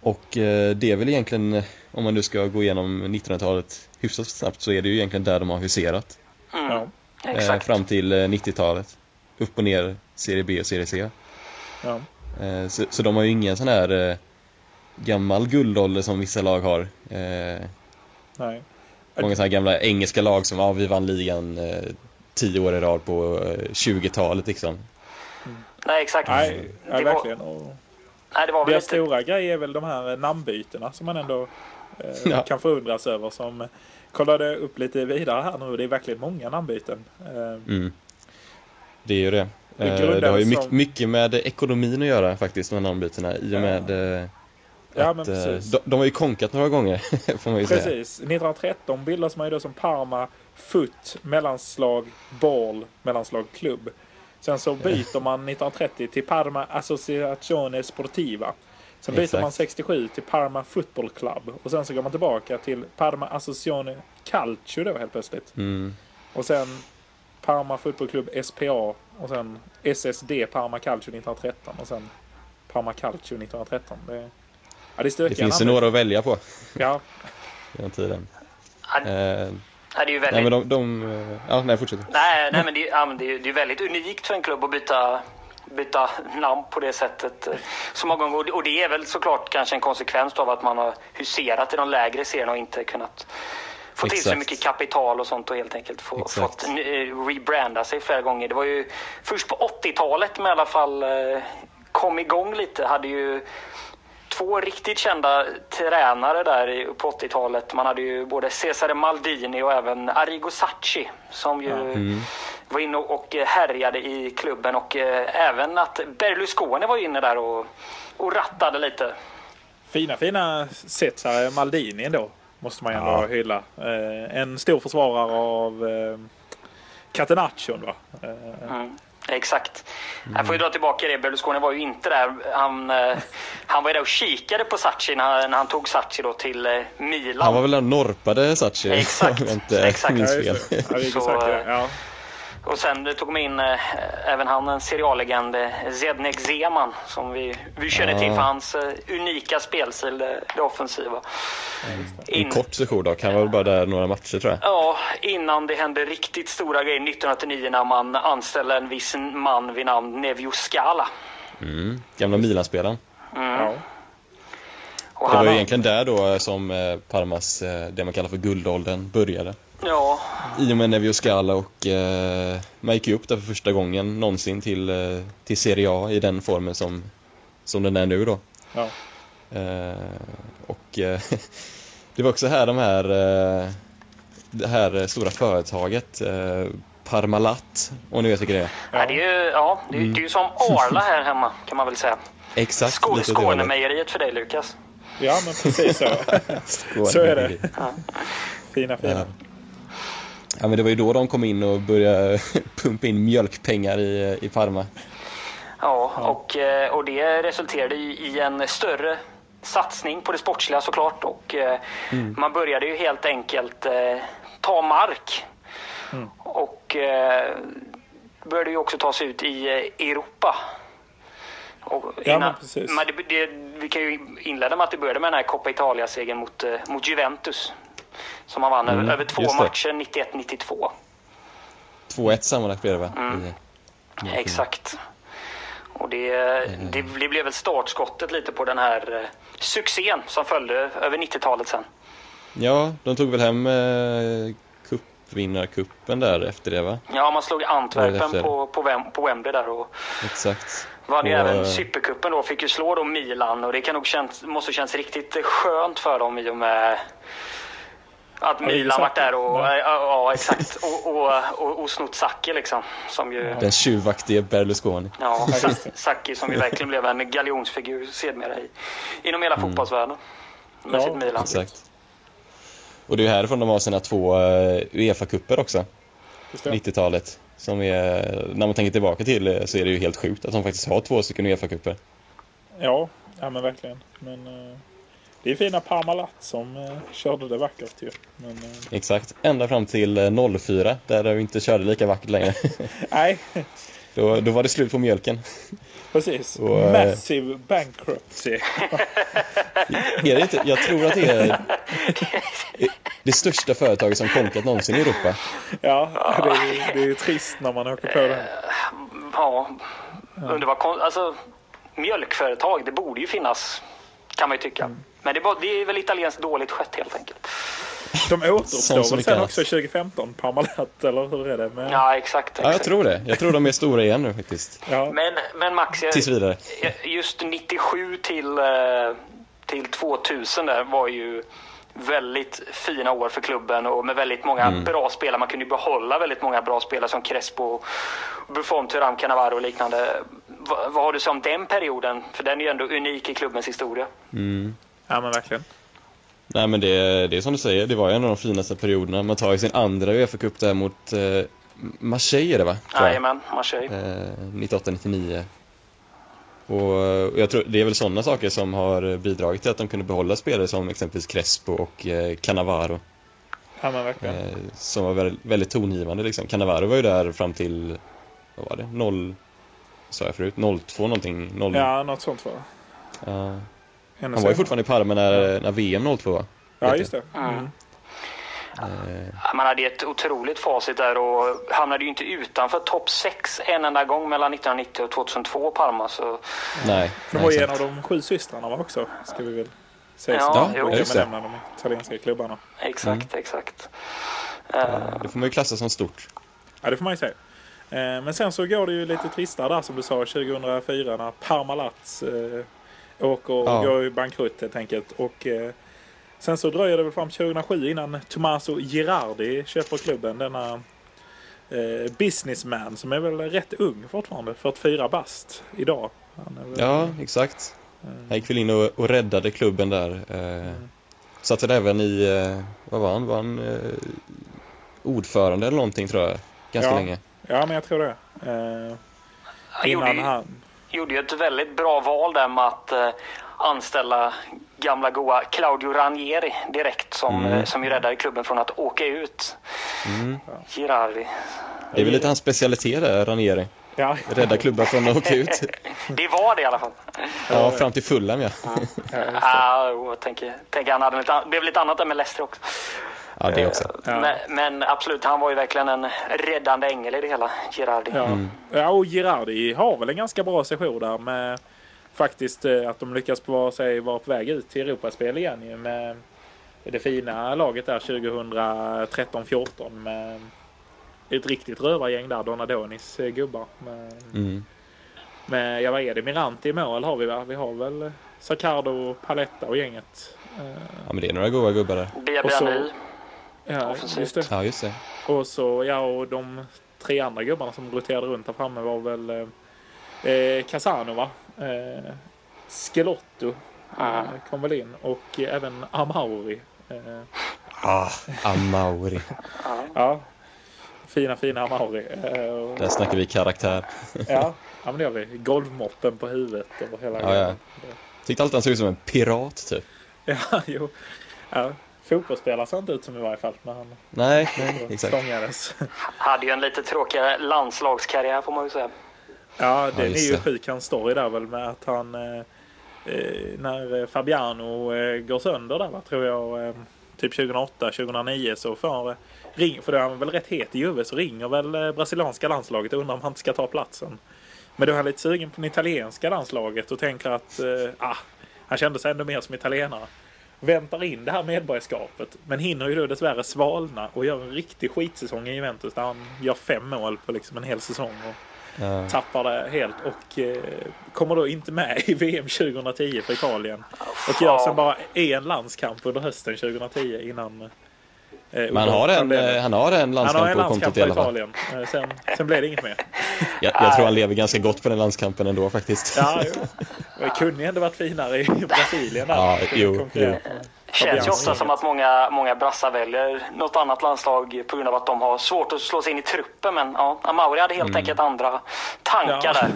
S3: Och eh, det är väl egentligen, eh, om man nu ska gå igenom 1900-talet hyfsat snabbt, så är det ju egentligen där de har huserat.
S2: Mm,
S1: Ja,
S3: eh,
S2: exakt.
S3: fram till eh, 90-talet. Upp och ner, serie B och serie C.
S1: ja.
S3: Eh, så, så de har ju ingen sån här eh, gammal guldålder som vissa lag har. Eh,
S1: Nej.
S3: många såna här gamla engelska lag som, ja, vi vann ligan eh, tio år i rad på eh, 20-talet liksom.
S2: Nej, exakt.
S1: Nej, ja,
S2: Mm. Det var-
S1: verkligen. Och
S2: Nej, det var väl
S1: deras
S2: inte...
S1: stora grej är väl de här eh, namnbytena som man ändå eh,
S3: Ja.
S1: kan förundras över. Som eh, kollade upp lite vidare här nu. Det är verkligen många namnbyten. Eh,
S3: Mm. Det är ju det.
S1: Det
S3: Eh,
S1: grundades
S3: det har ju mycket,
S1: som-
S3: mycket med ekonomin att göra faktiskt, med namnbytena. I och med eh,
S1: ja, men
S3: att eh,
S1: precis.
S3: de, de har ju konkat några gånger, får man ju säga.
S1: Precis. 1913 bildas man ju då som Parma Foot mellanslag Ball mellanslag Klubb. Sen så byter man 1930 till Parma Associazione Sportiva. Sen byter
S3: Exakt.
S1: man 67 till Parma Football Club. Och sen så går man tillbaka till Parma Associazione Calcio då helt plötsligt.
S3: Mm.
S1: Och sen Parma Football Club SPA. Och sen SSD Parma Calcio 1913. Och sen Parma Calcio 1913. Det, ja, det, är
S3: Det
S1: stökiga
S3: finns ju
S1: namn.
S3: några att välja på
S1: Ja,
S3: i den tiden.
S2: Ja, det
S3: Eh,
S2: är ju
S3: nej,
S2: väldigt...
S3: men de... de eh, ja, nej, fortsätt.
S2: Nej, nej men det, ja, men det, är- det är väldigt unikt för en klubb att byta, byta namn på det sättet. eh, Så många gånger. Och det är väl såklart kanske en konsekvens av att man har huserat i de lägre serierna och inte kunnat få till så
S3: Exakt.
S2: mycket kapital och sånt och helt enkelt få,
S3: Exakt.
S2: fått n- eh, rebranda sig flera gånger. Det var ju först på 80-talet man i alla fall eh, kom igång lite. Hade ju två riktigt kända tränare där i- på 80-talet. Man hade ju både Cesare Maldini och även Arrigo Sacchi som ju var inne och och härjade i klubben och eh, även att Berlusconi var inne där och, och rattade lite.
S1: fina, fina setsare. Maldini ändå. Måste man ju ändå
S3: Ja.
S1: hylla. Eh, en stor försvarare av eh, Catenaccion va? Eh,
S2: Mm, exakt. Jag
S3: Mm.
S2: får ju dra tillbaka det. Berlusconi var ju inte där. Han, eh, han var ju där och kikade på Sacchi när, när han tog Sacchi då till eh, Milan.
S3: Han var väl den norpade Sachi,
S2: Exakt,
S3: om jag inte
S2: exakt.
S1: ja,
S3: minns fel.
S1: just det. Ja, det är
S2: Så,
S1: exakt det.
S2: eh,
S1: Ja.
S2: Och sen tog man in eh, även han en seriallegend, eh, Zednek Zeman, som vi, vi känner till för
S3: Ah.
S2: hans eh, unika spelstil, det, det offensiva.
S3: En
S2: In,
S3: kort session dock, han var väl bara där några matcher tror jag.
S2: ja, innan det hände riktigt stora grejer 1989 när man anställde en viss man vid namn Nevio Scala.
S3: Mm. Gamla Milan-spelaren.
S1: Ja.
S2: Och
S3: Det var
S2: han-
S3: ju egentligen där då eh, som eh, Parmas, eh, det man kallar för guldåldern, började.
S2: Ja,
S3: I och med Nevio Scala och eh, man gick ju upp där för första gången någonsin till, eh, till Serie A i den formen som, som den är nu då.
S1: Ja.
S3: Eh, och eh, det var också här de här, eh, det här stora företaget eh, Parmalat, om ni vet vilket det är.
S2: Nej, det är ju, ja, det är, ju- det är ju
S3: Mm.
S2: som Arla här hemma kan man väl säga.
S3: Exakt.
S2: Skå-
S3: lite åt det hållet.
S2: Skånemejeriet för dig Lukas.
S1: ja, men precis så.
S3: Skåne.
S1: Så är det. Fina, fina.
S3: Ja, men det var ju då de kom in och började pumpa in mjölkpengar i, i Parma.
S2: Ja, och, eh, och det resulterade ju i en större satsning på det sportsliga såklart. Och eh, Man började ju helt enkelt eh, ta mark. Och eh, började ju också ta sig ut i eh, Europa. Och
S1: Ja, men precis.
S2: men det, det, vi kan ju inleda med att det började med den här Coppa Italia-segern mot, eh, mot Juventus. Som man vann över, över två
S3: just det.
S2: matcher, 91-92.
S3: 2-1 sammanlagt blev det va? I- Mm-hmm.
S2: Exakt. Och det,
S3: Mm.
S2: det, det blev väl startskottet lite på den här eh, succén som följde över 90-talet sen.
S3: Ja, de tog väl hem eh, cupvinnarcupen där efter det va?
S2: Ja, man slog
S3: Året efter.
S2: Antwerpen på, på, Wem, på Wembley där och
S3: Exakt.
S2: vann ju
S3: Och,
S2: även
S3: eh,
S2: Supercupen då. Fick ju slå då Milan och det kan nog känns, måste känns riktigt skönt för dem i och med att Milan
S1: Sacchi.
S2: varit där och, eh,
S1: Ja.
S2: ja. ja, exakt, och, och, och, och snott Sacchi liksom. Som ju,
S3: Den tjuvaktige Berlusconi.
S2: Ja, Sa- Sacchi som ju verkligen blev en galjonsfigur sedermera i, inom hela
S3: Mm.
S2: fotbollsvärlden. Med
S1: Ja,
S2: sitt Milan.
S3: Exakt. Och det är ju härifrån de har sina två eh, Uefa-cuper också,
S1: Just det.
S3: 90-talet. Som är, eh, när man tänker tillbaka till eh, så är det ju helt sjukt att de faktiskt har två stycken Uefa-cuper.
S1: Ja, ja men verkligen. Men, eh, det är fina Parmalat som eh, körde det vackert ju. Men, eh,
S3: Exakt. Ända fram till eh, 04, där de inte körde lika vackert längre.
S1: nej,
S3: Då, då var det slut på mjölken.
S1: precis.
S3: Och, eh,
S1: Massive bankruptcy.
S3: Är det inte, jag tror att det är det största företaget som konkat någonsin i Europa.
S1: Ja, det är, det är trist när man åker på det.
S2: Ja, undrar vad kon- alltså, Mjölkföretag, det borde ju finnas kan man ju tycka.
S3: Mm.
S2: Men det är, bara, det är väl italienskt dåligt skött helt enkelt.
S1: De
S3: Som så
S1: återuppstår väl
S3: mycket
S1: sen
S3: annat.
S1: också 2015, Parmalat, eller hur är det? Men, ja.
S2: Ja, exakt. exakt.
S3: Ja, jag tror det. Jag tror de är stora igen nu faktiskt.
S2: Men, men Max, jag,
S3: Tills vidare.
S2: just 97 till, eh, till 2000 där var ju väldigt fina år för klubben och med väldigt många
S3: Mm.
S2: bra spelare. Man kunde ju behålla väldigt många bra spelare som Crespo, Buffon, Thuram, Cannavaro och liknande. Va, vad har du som den perioden? För den är ju ändå unik i klubbens historia.
S1: ja, men verkligen.
S3: Nej men det, det är som du säger, det var ju en av de finaste perioderna. Man tar ju sin andra Uefa-cup där mot eh, Marseille är det va? Tror jag.
S2: Jajamän, Marseille.
S3: Eh, 98-99. Och, och jag tror, det är väl sådana saker som har bidragit till att de kunde behålla spelare som exempelvis Crespo och eh, Cannavaro.
S1: Ja, men verkligen.
S3: Eh, som var väldigt, väldigt tongivande liksom. Cannavaro var ju där fram till, vad var det, 0, sa jag förut? 02 någonting? 0...
S1: Ja, något sånt var det.
S3: Ja.
S1: Hennes-
S3: Han var ju fortfarande i Parma när, när VM 02 var.
S1: Ja, just det.
S2: Mm.
S3: Eh,
S2: Ja, Man hade ett otroligt facit där och hamnade ju inte utanför topp 6 en enda gång mellan 1990 och 2002 Parma. Så
S3: nej.
S1: Det var
S3: nej,
S1: ju en
S3: sant.
S1: av de sju systrarna va, också, ska vi väl säga.
S2: Ja,
S1: så.
S2: jo.
S1: Man kan
S3: just det.
S1: benämna de italienska klubbarna.
S2: exakt, exakt.
S3: Eh, Det får man ju klassa som stort.
S1: Ja, det får man ju säga. Eh, Men sen så går det ju lite tristare där som du sa 2004 när Parmalat eh, åker och
S3: Ja.
S1: går ju bankrutt helt enkelt. Och eh, sen så dröjer det väl fram 2007 innan Tommaso Girardi köper klubben. Denna eh, businessman som är väl rätt ung fortfarande, 44 bast idag. Han är väl,
S3: Ja, exakt. Han gick väl in och, och räddade klubben där. Eh, satt väl även i, eh, vad var han? Var han eh, ordförande eller någonting tror jag? Ganska
S1: Ja.
S3: länge.
S1: ja, men jag tror det. Eh,
S2: Han gjorde
S1: innan
S2: ju-
S1: han...
S2: gjorde ju ett väldigt bra val där med att eh, anställa gamla goa Claudio Ranieri direkt som,
S3: Mm.
S2: eh, som ju räddade klubben från att åka ut.
S3: Mm.
S2: Girardi.
S3: Det är väl lite hans specialitet där, Ranieri.
S1: Ja,
S3: Rädda klubbar från att åka ut.
S2: Det var det i alla fall.
S3: Ja, fram till Fulham ja.
S2: Ah, jo, jag tänker, tänker han hade lite, an- blev lite annat där med Leicester också.
S3: Ja, det också.
S1: Ja.
S2: Men, men absolut, han var ju verkligen en räddande ängel i det hela, Girardi.
S1: Ja. ja, och Girardi har väl en ganska bra session där med faktiskt eh, att de lyckas vara, sig, vara på väg ut till Europaspel igen ju med det fina laget där 2013-14 med ett riktigt rövargäng där, Donadonis eh, gubbar. Med,
S3: Mm.
S1: med, ja vad är det, Mirante i mål har vi va? Vi har väl Zaccardo, Paletta och gänget. Eh,
S3: Ja, men det är några goa gubbar där.
S1: Och så-
S2: Biabiani.
S1: Ja,
S2: Offensivt.
S1: just det.
S3: Ja, just det.
S1: Och så, ja, och de tre andra gubbarna som roterade runt där framme var väl eh, eh, Casanova, eh, Schelotto
S2: Ah.
S1: eh, kom väl in och eh, även Amauri. Eh,
S3: Ah, Amauri.
S1: ja, fina, fina Amauri. Eh, och,
S3: Där snackar vi karaktär.
S1: ja, ja, men det gör vi. Golvmoppen på huvudet och hela
S3: Ja, ja.
S1: grejen.
S3: Tyckte alltid han såg ut som en pirat typ.
S1: Ja, jo. Ja, fotbollsspelare såg inte ut som i varje fall när han
S3: Nej, nej, exakt.
S1: stångades.
S2: Hade ju en lite tråkigare landslagskarriär får man ju säga.
S1: Ja, den är
S3: just
S1: ju
S3: det.
S1: sjuk hans story där väl med att han eh, eh, när eh, Fabiano eh, går sönder där va, tror jag eh, typ 2008, 2009 så får eh, ring, för då är han väl rätt het i huvudet så ringer väl eh, brasilianska landslaget och undrar om han inte ska ta platsen. Men då är han lite sugen på det italienska landslaget och tänker att eh, ah, han kände sig ändå mer som italienare. Väntar in det här medborgarskapet men hinner ju då dessvärre svalna och gör en riktig skitsäsong i Juventus där han gör fem mål på liksom en hel säsong. Och
S3: Ja.
S1: tappar det helt och eh, kommer då inte med i VM 2010 för Italien. Och gör sen bara en landskamp under hösten 2010 innan... eh,
S3: Men han har en, eh, han har en
S1: han har
S3: landskamp
S1: en
S3: på
S1: landskamp
S3: kontot i
S1: för
S3: alla fall.
S1: Italien. Eh, Sen, sen blev det inget mer.
S3: Jag, jag tror han lever ganska gott på den landskampen ändå faktiskt.
S1: Ah. Ja, jo. Det kunde ju ändå varit finare i Brasilien där.
S3: Ja,
S1: Kunde
S3: jo,
S1: konkurrera
S3: jo.
S1: med
S2: Känns ju ofta
S1: Fabianski.
S2: som att många, många brassar väljer något annat landslag på grund av att de har svårt att slå sig in i truppen. Men ja, Amauri hade helt enkelt andra tankar
S1: Mm. Ja.
S2: där.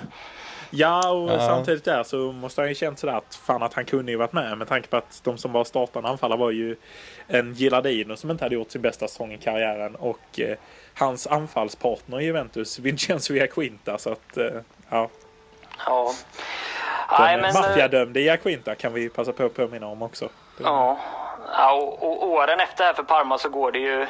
S1: Ja, och
S3: Ja.
S1: samtidigt där så måste han ju känt sådär att fan att han kunde ju varit med med tanke på att de som var startande anfallare var ju en Gillardino som inte hade gjort sin bästa säsong i karriären och eh, hans anfallspartner i Juventus, Vincenzo Iaquinta. Så att, eh, ja,
S2: Ja. Nej,
S1: den
S2: men, eh,
S1: maffiadömde Iaquinta kan vi passa på att påminna om också.
S2: ja. ja och, och åren efter här för Parma så går det ju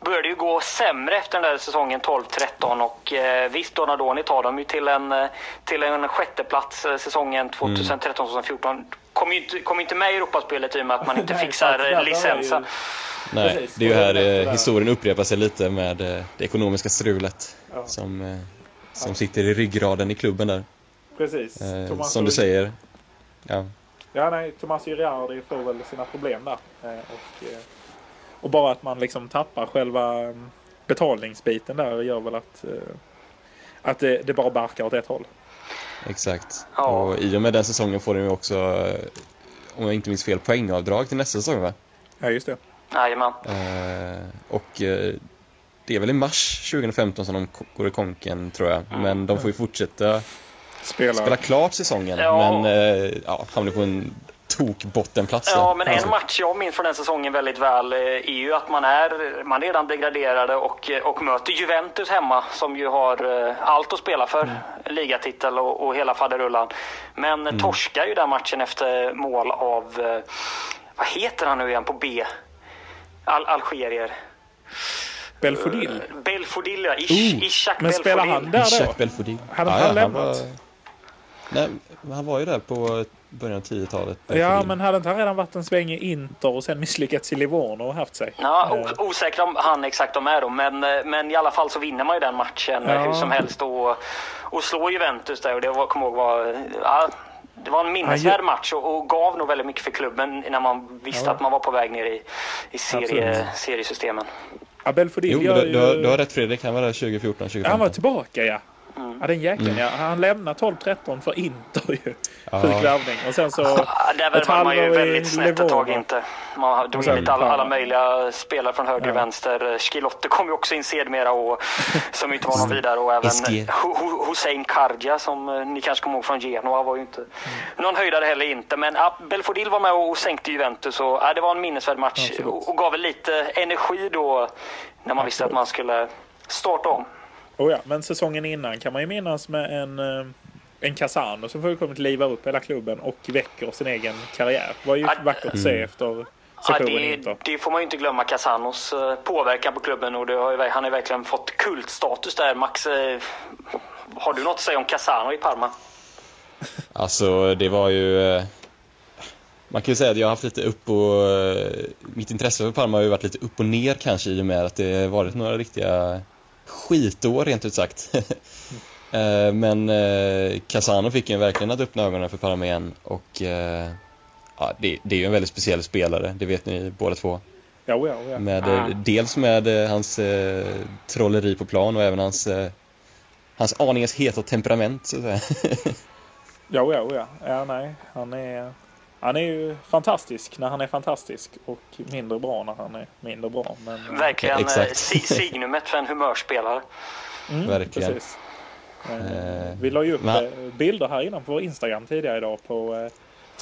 S2: började det ju gå sämre efter den där säsongen 12-13 och eh, visst Donadoni tar dem ju till en, eh, till en sjätteplats eh,
S1: Mm.
S2: säsongen 2013-2014. Kom ju inte, kom inte med i Europaspelet i och med att man inte
S1: Nej,
S2: fixar
S1: exakt. Där- där var
S2: eh,
S1: ju-
S2: licensen.
S3: Nej,
S1: Precis.
S3: det är ju
S1: Och
S3: här
S1: det är
S3: eh,
S1: där.
S3: historien upprepar sig lite med eh, det ekonomiska strulet
S1: Ja.
S3: som, eh, som sitter i ryggraden i klubben där.
S1: Precis.
S3: Eh,
S1: Tommaso-
S3: Som du säger. Ja.
S1: Ja, nej, Tomas Girardi får väl sina problem där. Eh, Och, eh, och bara att man liksom tappar själva eh, betalningsbiten där gör väl att, eh, att det, det bara barkar åt ett håll.
S3: Exakt.
S2: Ja.
S3: Och i och med den säsongen får de ju också, eh, om jag inte minns fel, poängavdrag till nästa säsong va?
S1: Ja, just det.
S2: Jajamän.
S3: Eh, och eh, det är väl i mars 2015 som de ko- går i konken tror jag. Men de får ju fortsätta
S1: Spelar.
S3: spela klart säsongen.
S2: Ja.
S3: Men eh, ja, hamnar på en Alltså, tok-bottenplatser.
S2: Ja, men en match jag minns från den säsongen väldigt väl eh, är ju att man är, man är redan degraderade och, eh, och möter Juventus hemma som ju har eh, allt att spela för. Ligatitel och, och hela faderullan. Men mm. torskar ju den matchen efter mål av, eh, vad heter han nu igen på B? Al Algerier.
S1: Belfodil.
S2: Belfodil ja, Ish,
S3: Oh,
S2: Ishak
S1: men spelar
S2: Belfodil.
S1: han där? då?
S3: Jack Belfodil.
S1: Hade han lämnat?
S3: var- Nej, men han var ju där på början av eh, 10-talet.
S1: Ja,
S3: Belfodil.
S1: men hade inte han redan varit en sväng i Inter och sen misslyckats i Livorno och haft sig?
S2: Ja,
S1: Eh,
S2: o- osäker om han exakt de är då, men, eh, men i alla fall så vinner man ju den matchen
S1: Ja.
S2: eh, hur som helst och, och slår Juventus där och det var, kommer jag ihåg var, eh, ja, det var en
S1: Ja,
S2: minnesvärd
S1: ju-
S2: match och, och gav nog väldigt mycket för klubben när man visste
S1: Ja.
S2: att man var på väg ner i, i serie,
S1: Absolut.
S2: seriesystemen.
S1: Abel Fodil
S3: Jo, men
S1: gör
S3: du, du, har,
S1: ju-
S3: du har rätt Fredrik, han var där 2014, 2015.
S1: Ja, Han var tillbaka ja.
S2: Mm.
S1: Ja, den jäkeln ja. Han lämnade 12-13 för Inter ju.
S3: Mm. Ja.
S1: Sjuk värvning. Och sen så...
S2: Ja, där värvade man ju
S1: halvår i
S2: väldigt snett ett tag
S1: Livorno.
S2: inte. Man drog in
S1: sen
S2: lite alla, alla
S1: Parma.
S2: möjliga spelare från höger och vänster. Skilotte kom ju också in sedermera och som inte var någon vidare och även eh,
S3: SG.
S2: Ho- Ho- Hussein Kardja som eh, ni kanske kommer ihåg från Genoa var ju inte
S1: Mm.
S2: någon höjdare heller inte. Men ja, Belfodil var med och sänkte Juventus och ja, det var en minnesvärd match
S1: Absolut.
S2: och, och gav väl lite energi då när man visste att man skulle starta om.
S1: Oh, ja. Men säsongen innan kan man ju minnas med en, eh, en Casano som fullkomligt livar upp hela klubben och väcker sin egen karriär. Det var ju
S2: Ja,
S1: vackert att se efter
S2: Ja,
S1: sessionen i
S2: det,
S1: Inter.
S2: det får man ju inte glömma Casanos eh, påverkan på klubben och det har ju, han har ju verkligen fått kultstatus där. Max, eh, har du något att säga om Casano i Parma?
S3: Alltså, det var ju... eh, Man kan ju säga att jag har haft lite upp och... eh, Mitt intresse för Parma har ju varit lite upp och ner kanske i och med att det varit några riktiga skitår rent ut sagt. Eh, Men eh, Casano fick ju verkligen att öppna ögonen för Parma igen och eh, ja, det, det är ju en väldigt speciell spelare, det vet ni båda två.
S1: Ja, oh, ja, oh, ja.
S2: Ah.
S3: Med, eh, Dels med eh, hans eh, trolleri på plan och även hans, eh, hans aningens heta temperament så att säga.
S1: Ja, ja, ja. ja nej. Han, är, han är ju fantastisk när han är fantastisk och mindre bra när han är mindre bra. Men, eh,
S2: Verkligen eh,
S3: Exakt.
S2: si- signumet för en humörspelare.
S1: mm,
S3: verkligen.
S1: Precis. Eh,
S3: Eh,
S1: vi la ju upp
S3: men-
S1: eh, bilder här innan på vår Instagram tidigare idag på eh,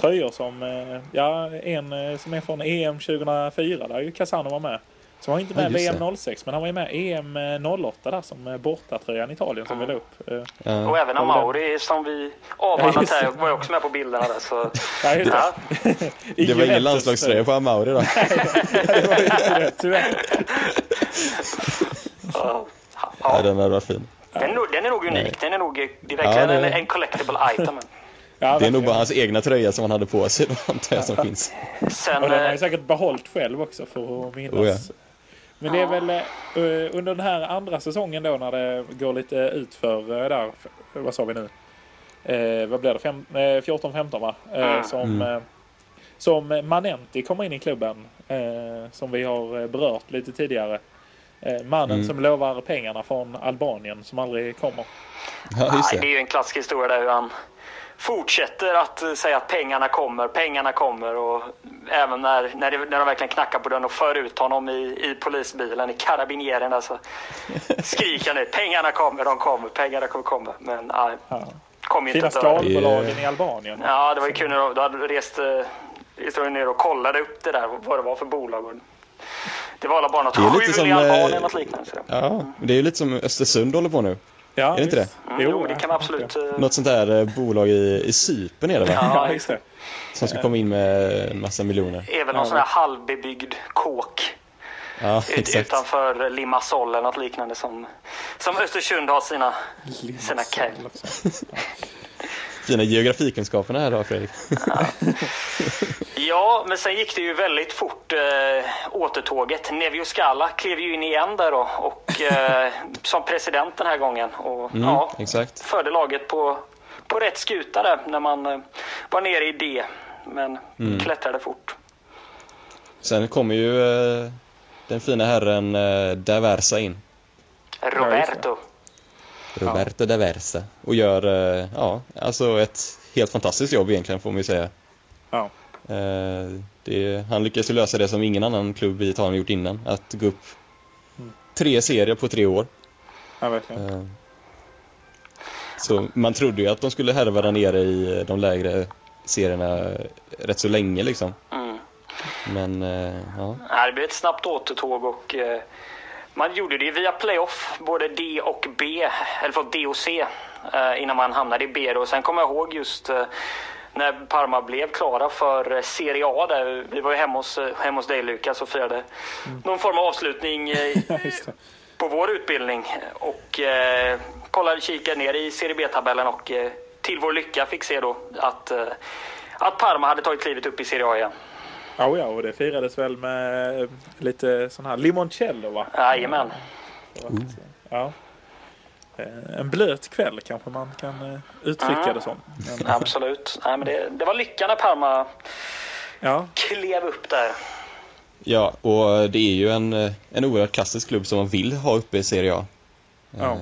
S1: tröjor som, eh, ja, en eh, som är från EM 2004 där ju Casano var med. Som var inte
S3: Ja,
S1: med E
S3: just det.
S1: VM 06 men han var ju med E EM 08 där som eh, bortatröjan i Italien som vi la upp. Eh,
S3: Ja.
S2: Och även
S1: Ja,
S2: Amauri som vi
S1: Ja,
S2: avhandlat
S1: just
S2: här
S1: det.
S2: var ju också med på bilderna där. Så,
S1: ja, just det.
S2: ja.
S1: I
S3: Det var ingen
S1: Juventus, eh,
S3: landslagströja på Amauri då.
S1: det var ju inte det, Tyvärr.
S2: Ja.
S3: Ja,
S2: Ja.
S3: den hade varit fin.
S2: Den, är nog- den är nog unik. Den är nog, det är verkligen
S3: det är-
S2: en, en collectible item.
S1: Ja,
S3: Det är nog
S1: verkligen.
S3: bara hans egna tröja som han hade på sig, då antar jag, som finns.
S2: Sen,
S1: Och den har
S2: eh,
S1: jag säkert behållit själv också för att minnas.
S3: Oh ja.
S1: Men det är väl eh, under den här andra säsongen då när det går lite utför eh, där. f- Vad sa vi nu? Eh, vad blir det? Fem- eh, 14-15 va? Eh,
S2: Mm.
S1: Som, eh, som Manenti kommer in i klubben. Eh, som vi har eh, berört lite tidigare. Eh, mannen
S3: Mm.
S1: som lovar pengarna från Albanien som aldrig kommer.
S3: Ja, just
S2: Nej, det
S3: det.
S2: är ju en klassisk historia där hur han fortsätter att eh, säga att pengarna kommer, pengarna kommer och även när, när, det, när de verkligen knackar på dörren och för ut honom i, i polisbilen, i karabinjeren där så skriker han ut pengarna kommer, de kommer, pengarna kommer komma. Men nej,
S1: Ja.
S2: kom ju Ah. inte
S1: Fina
S2: ett öre.
S1: skalbolagen
S3: Yeah.
S1: i Albanien.
S2: Ja, det var ju kul när de, då hade de rest, eh, rest de ner och kollade upp det där, vad det var för bolag. och- Det var alla bara något
S3: Det är lite
S2: skjul
S3: som,
S2: i
S3: eh,
S2: Albanien eller något liknande. Så.
S3: Ja, men det är ju lite som Östersund håller på nu.
S1: Ja,
S3: Är det inte
S1: visst.
S2: Mm, Jo, det kan man absolut. eh,
S3: Något sånt där eh, bolag i, i Cypern är det va?
S2: Ja,
S1: Ja, just det.
S3: Som ska komma in med massa miljoner.
S2: är väl någon sån här halvbebyggd kåk
S3: Ja,
S2: ut,
S3: exakt.
S2: utanför Limassol eller något liknande som, som Östersund har sina, sina kaj.
S3: Fina geografikunskaperna här då, Fredrik.
S2: Ja, men sen gick det ju väldigt fort eh, återtåget. Nevio Scala klev ju in igen där då och eh, som president den här gången. Och,
S3: Mm,
S2: ja,
S3: exakt.
S2: förde laget på, på rätt skuta där när man eh, var nere i D. Men
S3: Mm.
S2: klättrade fort.
S3: Sen kommer ju eh, den fina herren eh, Daversa in.
S2: Roberto.
S3: Roberto Daversa. Och gör, eh, ja, alltså ett helt fantastiskt jobb egentligen får man ju säga.
S1: Ja.
S3: Eh, det, han lyckades ju lösa det som ingen annan klubb i Italien gjort innan, att gå upp tre serier på tre år.
S1: Ja, verkligen.
S3: Eh, så man trodde ju att eh, de skulle härva där nere i de lägre serierna rätt så länge liksom.
S2: Mm.
S3: Men eh, ja,
S2: Nej, Det blev ett snabbt återtåg och eh, man gjorde det via playoff, både D och B, eller för D och C, eh, innan man hamnade i B. Då. Och Sen kommer jag ihåg just eh, när Parma blev klara för eh, Serie A. Där. Vi var ju hemma hos, eh, hemma hos dig Lukas och firade någon form av avslutning eh,
S1: Just det.
S2: på vår utbildning och eh, kollade kikade ner i Serie B-tabellen och eh, till vår lycka fick se då att, eh, att Parma hade tagit klivet upp i Serie A igen.
S1: Ja, ja, och det firades väl med eh, lite sån här limoncello va?
S2: Jajamän.
S3: Mm.
S1: Ja. Eh, En blöt kväll kanske man kan eh,
S2: Ah.
S1: uttrycka det som. Men,
S2: Absolut. Nej, men det, det var lyckan när Parma
S1: ja,
S2: klev upp där.
S3: ja och det är ju en, eh, en oerhört klassisk klubb som man vill ha uppe i Serie A.
S1: Ja.
S3: Eh,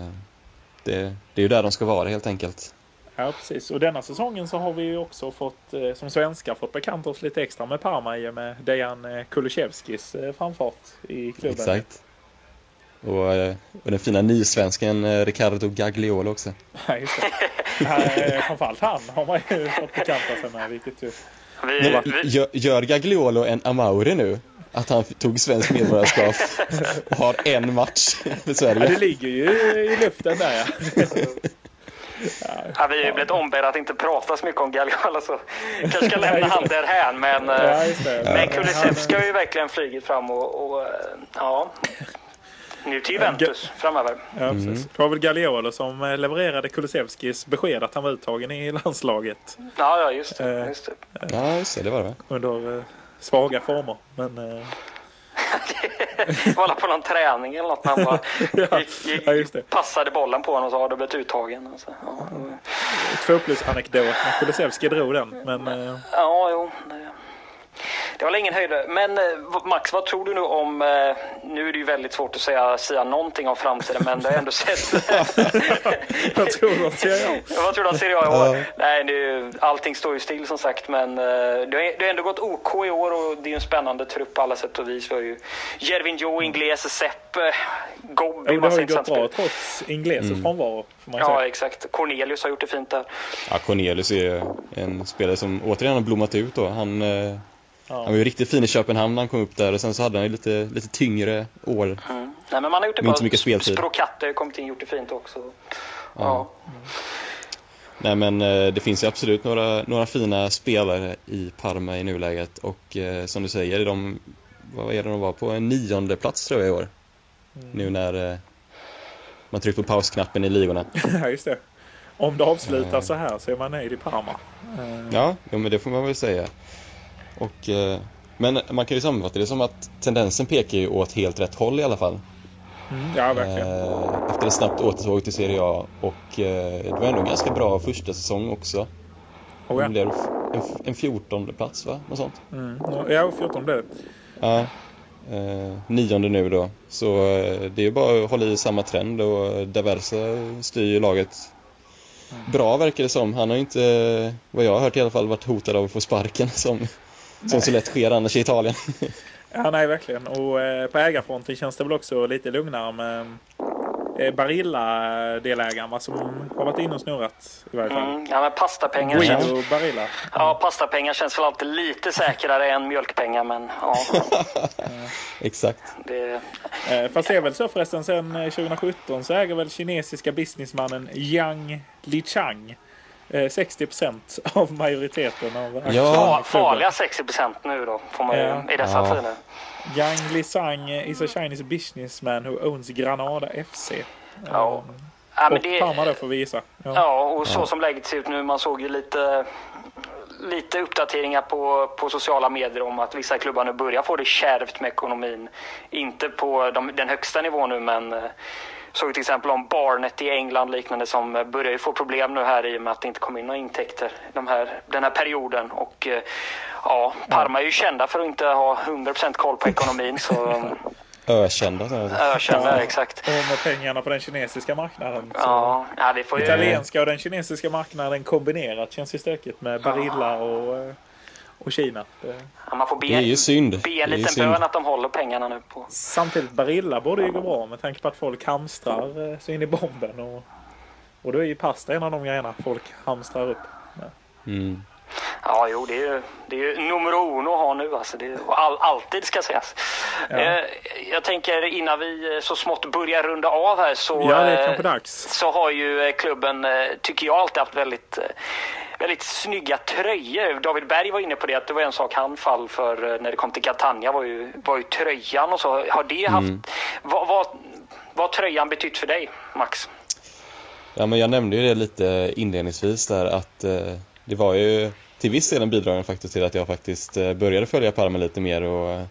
S3: Det, det är ju där de ska vara helt enkelt.
S1: ja, precis. Och denna säsongen så har vi ju också fått, eh, som svenskar, fått bekanta oss lite extra med Parma i och med Dejan eh, Kulusevskis eh, framfart i klubben.
S3: Exakt. Och, eh, och den fina nysvensken eh, Riccardo Gagliolo också.
S1: Ja, just det. Eh, Framförallt han har man ju fått bekanta sig med, vilket ju...
S2: Vi,
S3: Nej,
S2: vi,
S3: gör, gör Gagliolo en Amauri nu? Att han tog svenskt medborgarskap och har en match för
S1: Ja, det
S3: Sverige.
S1: ligger ju i luften där ja.
S2: ja, vi har ju blivit ombedda att inte prata så mycket om Galgal, så kanske ska lämna han därhän. Men,
S1: ja
S2: eh,
S1: just det.
S2: men Kulusevski har ju verkligen flugit fram och, och eh, ja. Nu till Juventus framöver.
S1: Ja, precis. Det var väl Gagliolo som eh, levererade Kulusevskis besked att han var uttagen i landslaget
S2: Ja, ja just det.
S1: Eh.
S2: Just det.
S3: Ja, just det, det var det va?
S1: under eh, svaga former. Men, eh,
S2: Det var alla på någon träning eller något när han bara gick, gick,
S1: ja, just det.
S2: passade bollen på honom och så har du blivit uttagen. Alltså, ja,
S1: Mm. Två plus anekdot när Kulusevski drog den. Men eh,
S2: Ja, jo. det- Det var väl ingen höjd. Men eh, vad- Max, vad tror du nu om... eh, Nu är det ju väldigt svårt att säga, säga någonting om framtiden, men du har ändå sett...
S1: jag tror de ser jag.
S2: vad tror du om Serie A i år?
S3: Ja.
S2: Nej, det är ju, allting står ju still som sagt, men eh, det har, det har ändå gått OK i år och det är ju en spännande trupp på alla sätt och vis. Vi har ju Jervinho, Inglese, Sepp, eh, Gobbi,
S1: Jo, det har
S2: massa
S1: ju gått
S2: intressanta
S1: bra
S2: spelare.
S1: trots Ingleses frånvaro. Får man ju
S2: Ja,
S1: säga.
S2: exakt. Cornelius har gjort det fint där.
S3: Ja, Cornelius är ju en spelare som återigen har blommat ut då. Han, eh, han var ju riktigt fin i Köpenhamn när han kom upp där och sen så hade han ju lite, lite tyngre år.
S2: Mm. Nej, men man har gjort det
S3: Men
S2: bra.
S3: inte så mycket speltid.
S2: Sprocatte har ju kommit in och gjort det fint också. ja.
S3: Nej men eh, det finns ju absolut några, några fina spelare i Parma i nuläget och eh, som du säger, de, vad är det de var på? En nionde plats tror jag i år. Nu när eh, man tryckt på pausknappen i ligorna.
S1: Ja, just det. Om det avslutar så här så är man nöjd i Parma.
S3: Ja, jo, men det får man väl säga. Och, eh, men man kan ju sammanfatta det som att tendensen pekar ju åt helt rätt håll i alla fall.
S1: Ja, verkligen.
S3: Eh, efter ett snabbt återtåg till Serie A och eh, det var ändå en ganska bra första säsong också.
S1: Oh,
S3: Det
S1: ja.
S3: blev en, en fjortonde plats va? Något sånt.
S1: Mm. ja, 14 blev det.
S3: Ja, eh, nionde nu då. Så eh, det är ju bara att hålla i samma trend och Daversa styr ju laget bra verkar det som. Han har ju inte, vad jag har hört i alla fall, varit hotad av att få sparken som, som så lätt sker annars i Italien.
S1: Ja, nej, verkligen. Och eh, på ägarfronten känns det väl också lite lugnare med eh, Barilla-delägaren va, som har varit inne och snurrat i varje fall.
S2: Mm, ja, men pastapengar känns,
S1: Guido Barilla.
S2: ja, pastapengar känns väl alltid lite säkrare än mjölkpengar. Men ja,
S3: Exakt.
S2: det,
S1: Eh, Fast det är väl så förresten sen eh, 2017 så äger väl kinesiska businessmannen Yang Lichang eh, 60 av majoriteten av aktierna i
S2: fa,
S3: Ja,
S1: klubben.
S2: farliga 60 procent nu då, får man ju,
S1: Ja.
S2: i dessa
S3: Ja.
S2: tider.
S1: Yang Lichang is a Chinese businessman who owns Granada FC.
S2: Ja.
S1: Eh,
S2: Ja, men
S1: Och
S2: det,
S1: Parma då får vi gissa. Ja.
S2: ja, och så som läget ser ut nu, man såg ju lite, lite uppdateringar på, på sociala medier om att vissa klubbar nu börjar få det kärvt med ekonomin. Inte på de, den högsta nivån nu, men eh, såg till exempel om Barnet i England liknande som eh, börjar ju få problem nu här i och med att det inte kom in några intäkter de här, den här perioden. Och eh, ja, Parma är ju kända för att inte ha 100% koll på ekonomin så
S3: Ökända. så här.
S2: ökända,
S1: Ja.
S2: exakt.
S1: Och med pengarna på den kinesiska marknaden. så-
S2: Ja, ja, det får ju...
S1: Italienska och den kinesiska marknaden kombinerat känns ju stökigt med Barilla och, eh, och Kina. Eh,
S2: Ja, man får be,
S3: Det är ju synd. Det
S2: be
S3: är
S2: en
S3: ju
S2: liten
S3: synd.
S2: bön att de håller pengarna nu på.
S1: Samtidigt Barilla borde ju gå bra med tanke på att folk hamstrar eh, så in i bomben. Och, och då är ju pasta en av de grejerna folk hamstrar upp.
S3: Mm.
S2: Ja, jo, det är ju, det är ju numero uno att ha nu. Alltså. Det är, och all, alltid ska sägas.
S1: Ja.
S2: Eh, jag tänker innan vi eh, så smått börjar runda av här så,
S1: Ja, det är
S2: eh,
S1: kanske dags.
S2: så har ju eh, klubben, eh, tycker jag, alltid haft väldigt eh, Väldigt snygga tröjor. David Berg var inne på det att det var en sak han fall för eh, när det kom till Catania var ju, var ju tröjan och så. Har det haft...
S3: Mm.
S2: Vad, vad, vad har tröjan betytt för dig, Max?
S3: Ja, men jag nämnde ju det lite inledningsvis där att eh, det var ju till viss del en bidragande faktor till att jag faktiskt eh, började följa Parma lite mer och eh,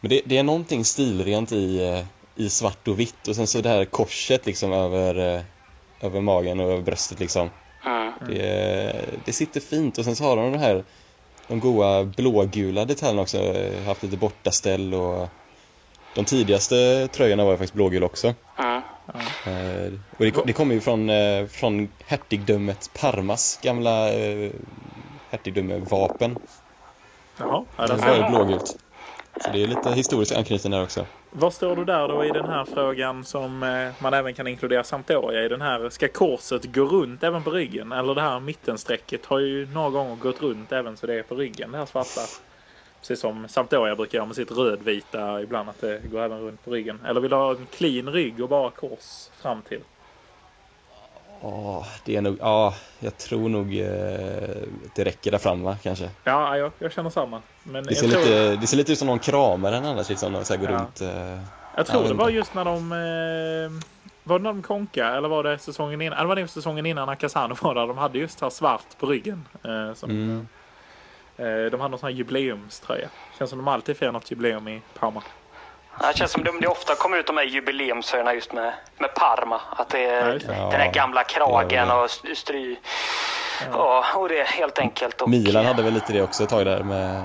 S3: men det, det är någonting stilrent i, eh, i svart och vitt och sen så det här korset liksom över, eh, över magen och över bröstet liksom.
S2: Mm.
S3: Det, eh, det sitter fint och sen så har de de här de goa blågula detaljerna också. eh, Haft lite bortaställ och de tidigaste tröjorna var ju faktiskt blågula också.
S2: Mm.
S3: Eh, och det, det kommer ju från, eh, från hertigdömet Parmas gamla eh, hertigdöme-vapen.
S1: Jaha, ja,
S3: Det
S1: där
S3: var
S1: ser
S3: ju
S1: man.
S3: blågult. Så det är lite historisk anknytning där också.
S1: Vad står du där då i den här frågan som eh, man även kan inkludera Sampdoria i den här? Ska korset gå runt även på ryggen? Eller det här mittenstrecket har ju några gånger gått runt även så det är på ryggen det här svarta. Precis som Sampdoria brukar göra med sitt rödvita ibland att det går även runt på ryggen. Eller vill du ha en clean rygg och bara kors fram till?
S3: Ja, det är nog, ja, jag tror nog eh, att det räcker där fram va, kanske.
S1: Ja, jag, jag känner samma. Men
S3: Det
S1: jag
S3: ser,
S1: tror,
S3: lite, det ser lite ut som någon kramar den annars, liksom, när de så här går
S1: Ja.
S3: runt. Eh,
S1: jag tror
S3: Ja,
S1: det
S3: men-
S1: var just när de... Eh, var det när de konka eller var det säsongen innan? Eller var det säsongen innan när Casano var där? De hade just det här svart på ryggen. Eh, som
S3: mm.
S1: Eh, De hade någon sån här jubileumströja. Känns som de alltid firar något jubileum i Parma.
S2: Det känns som det, det ofta kommer ut de här jubileumsöarna just med, med Parma. Att det
S1: Ja,
S2: är
S1: just det.
S2: den här gamla kragen
S3: Ja,
S2: och st- stry... Ja, och det helt enkelt. Och,
S3: Milan hade väl lite det också ett tag där med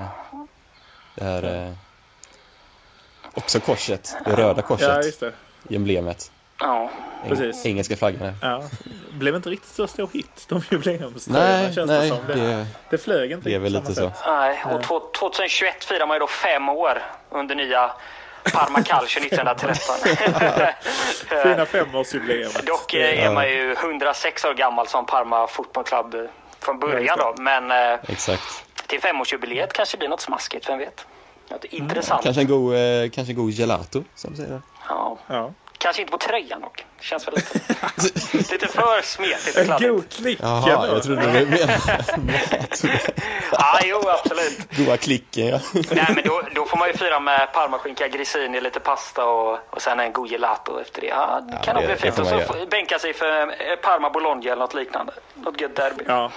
S3: det här eh, också korset, det röda
S1: Ja,
S3: korset
S1: just det.
S3: i emblemet.
S2: Ja.
S3: Eng-
S1: Precis.
S3: Engelska flaggan.
S1: Ja. Blev inte riktigt så stor hit, de jubileumströjorna
S3: Nej,
S1: känns det
S3: nej,
S1: som.
S3: det-
S1: det flög inte
S3: det är väl
S1: riktigt på
S3: lite
S1: samma
S3: så.
S1: sätt.
S2: Nej, och två- 2021 firar man ju då fem år under nya Parma Calcio 1913.
S1: Fina femårsjubileumet.
S2: Dock eh, är man ju 106 år gammal som Parma Football Club eh, från början då. Men eh,
S3: Exakt.
S2: till femårsjubileet kanske det blir något smaskigt, vem vet? Något intressant.
S3: Kanske en god, eh, kanske en god gelato, som du säger.
S2: Ja.
S1: Ja.
S2: Kanske inte på tröjan dock. Det känns väl lite, lite för smetigt och
S1: En
S2: kladdigt.
S1: god klick
S3: Jaha,
S1: ändå.
S3: jag trodde du menade
S2: Ja, jo, absolut.
S3: goa klicken. Ja.
S2: Nej, men då, då får man ju fira med parmaskinka, grissini, lite pasta och, och sen en god gelato efter det. Ja, det kan nog
S3: det-
S2: bli
S3: det
S2: fint.
S3: får
S2: Och
S3: man
S2: så
S3: göra.
S2: får- bänka sig för eh, Parma Bologna eller något liknande. Något gött derby.
S1: Ja.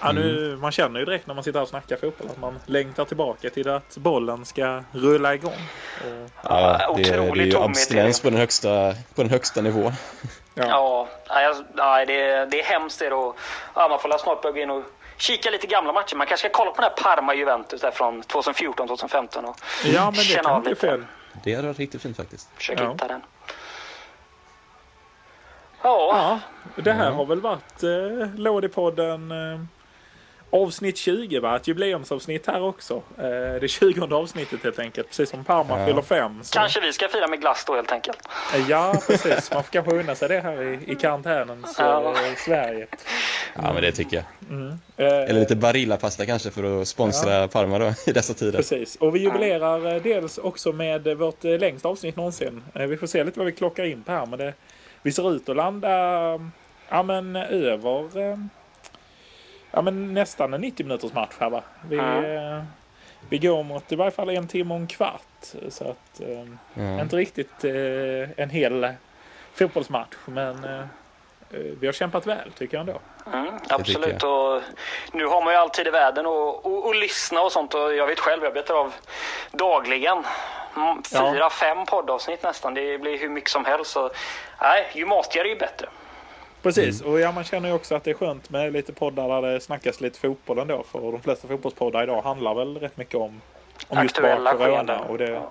S1: Mm. Ja, nu, man känner ju direkt när man sitter här och snackar fotboll att man längtar tillbaka till att bollen ska rulla igång. Och,
S3: Ja, det, är- det är
S2: Otrolig
S3: ju
S2: tomhet är
S3: abstinens
S2: det.
S3: på den högsta, på den högsta nivån.
S2: Ja, nej, jag- nej, det, är- det är hemskt det då. Ja, man får väl snart börja gå in och kika lite gamla matcher. Man kanske ska kolla på den här Parma-Juventus där från 2014-2015 och
S1: ja, men det
S2: Känna
S1: kan
S2: av
S1: inte bli
S2: lite.
S1: fel.
S3: Det hade varit riktigt fint faktiskt.
S2: försöka
S1: Ja.
S2: hitta den. Ja,
S1: Ja, det här har väl varit eh, Lådipodden eh, avsnitt 20 va? Ett jubileumsavsnitt här också. Eh, det 20 avsnittet helt enkelt. Precis som Parma fyller fem. Så,
S2: kanske vi ska fira med glass då helt enkelt.
S1: Eh, Ja, precis. Man får kanske unna sig det här i, i karantänens
S2: Ja.
S1: eh, Sverige.
S3: Ja, men det tycker jag. Eller
S1: Eh,
S3: lite Barilla-pasta kanske för att sponsra Parma då, i dessa tider.
S1: precis. Och vi jubilerar eh, dels också med eh, vårt eh, längsta avsnitt någonsin. Eh, vi får se lite vad vi klockar in på här. Men det, vi ser ut att landa eh, ja, men, över eh, ja, men, nästan en 90 minuters match här va? Vi, eh, vi går mot i varje fall en timme och en kvart. Så att eh, inte riktigt eh, en hel fotbollsmatch. Men eh, eh, vi har kämpat väl tycker jag ändå.
S2: Mm, absolut. Och nu har man ju alltid i världen och, och, och lyssna och sånt. Och jag vet själv, jag betar av dagligen. Mm,
S1: Ja.
S2: Fyra, fem poddavsnitt nästan. Det blir hur mycket som helst. Så, nej, ju matigare ju bättre.
S1: Precis,
S2: Mm.
S1: och ja, man känner ju också att det är skönt med lite poddar där det snackas lite fotboll ändå. För de flesta fotbollspoddar idag handlar väl rätt mycket om, om just
S2: Aktuella
S1: bara corona.
S2: skeenden.
S1: Och det,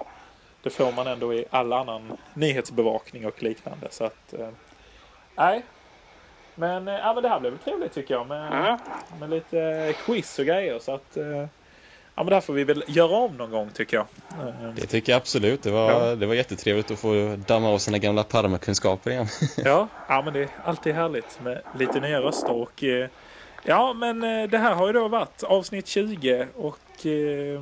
S1: det får man ändå i all annan nyhetsbevakning och liknande. Så att, eh, nej. Men, eh, ja, men det här blev väl trevligt tycker jag med,
S2: Mm.
S1: med lite eh, quiz och grejer. Så att, eh, ja, men det här får vi väl göra om någon gång tycker jag. Eh,
S3: Det tycker jag absolut. Det var,
S1: Ja.
S3: det var jättetrevligt att få damma av sina gamla Parma-kunskaper igen.
S1: Ja, ja men det är alltid härligt med lite nya röster och eh, Ja, men eh, det här har ju då varit avsnitt 20 och eh,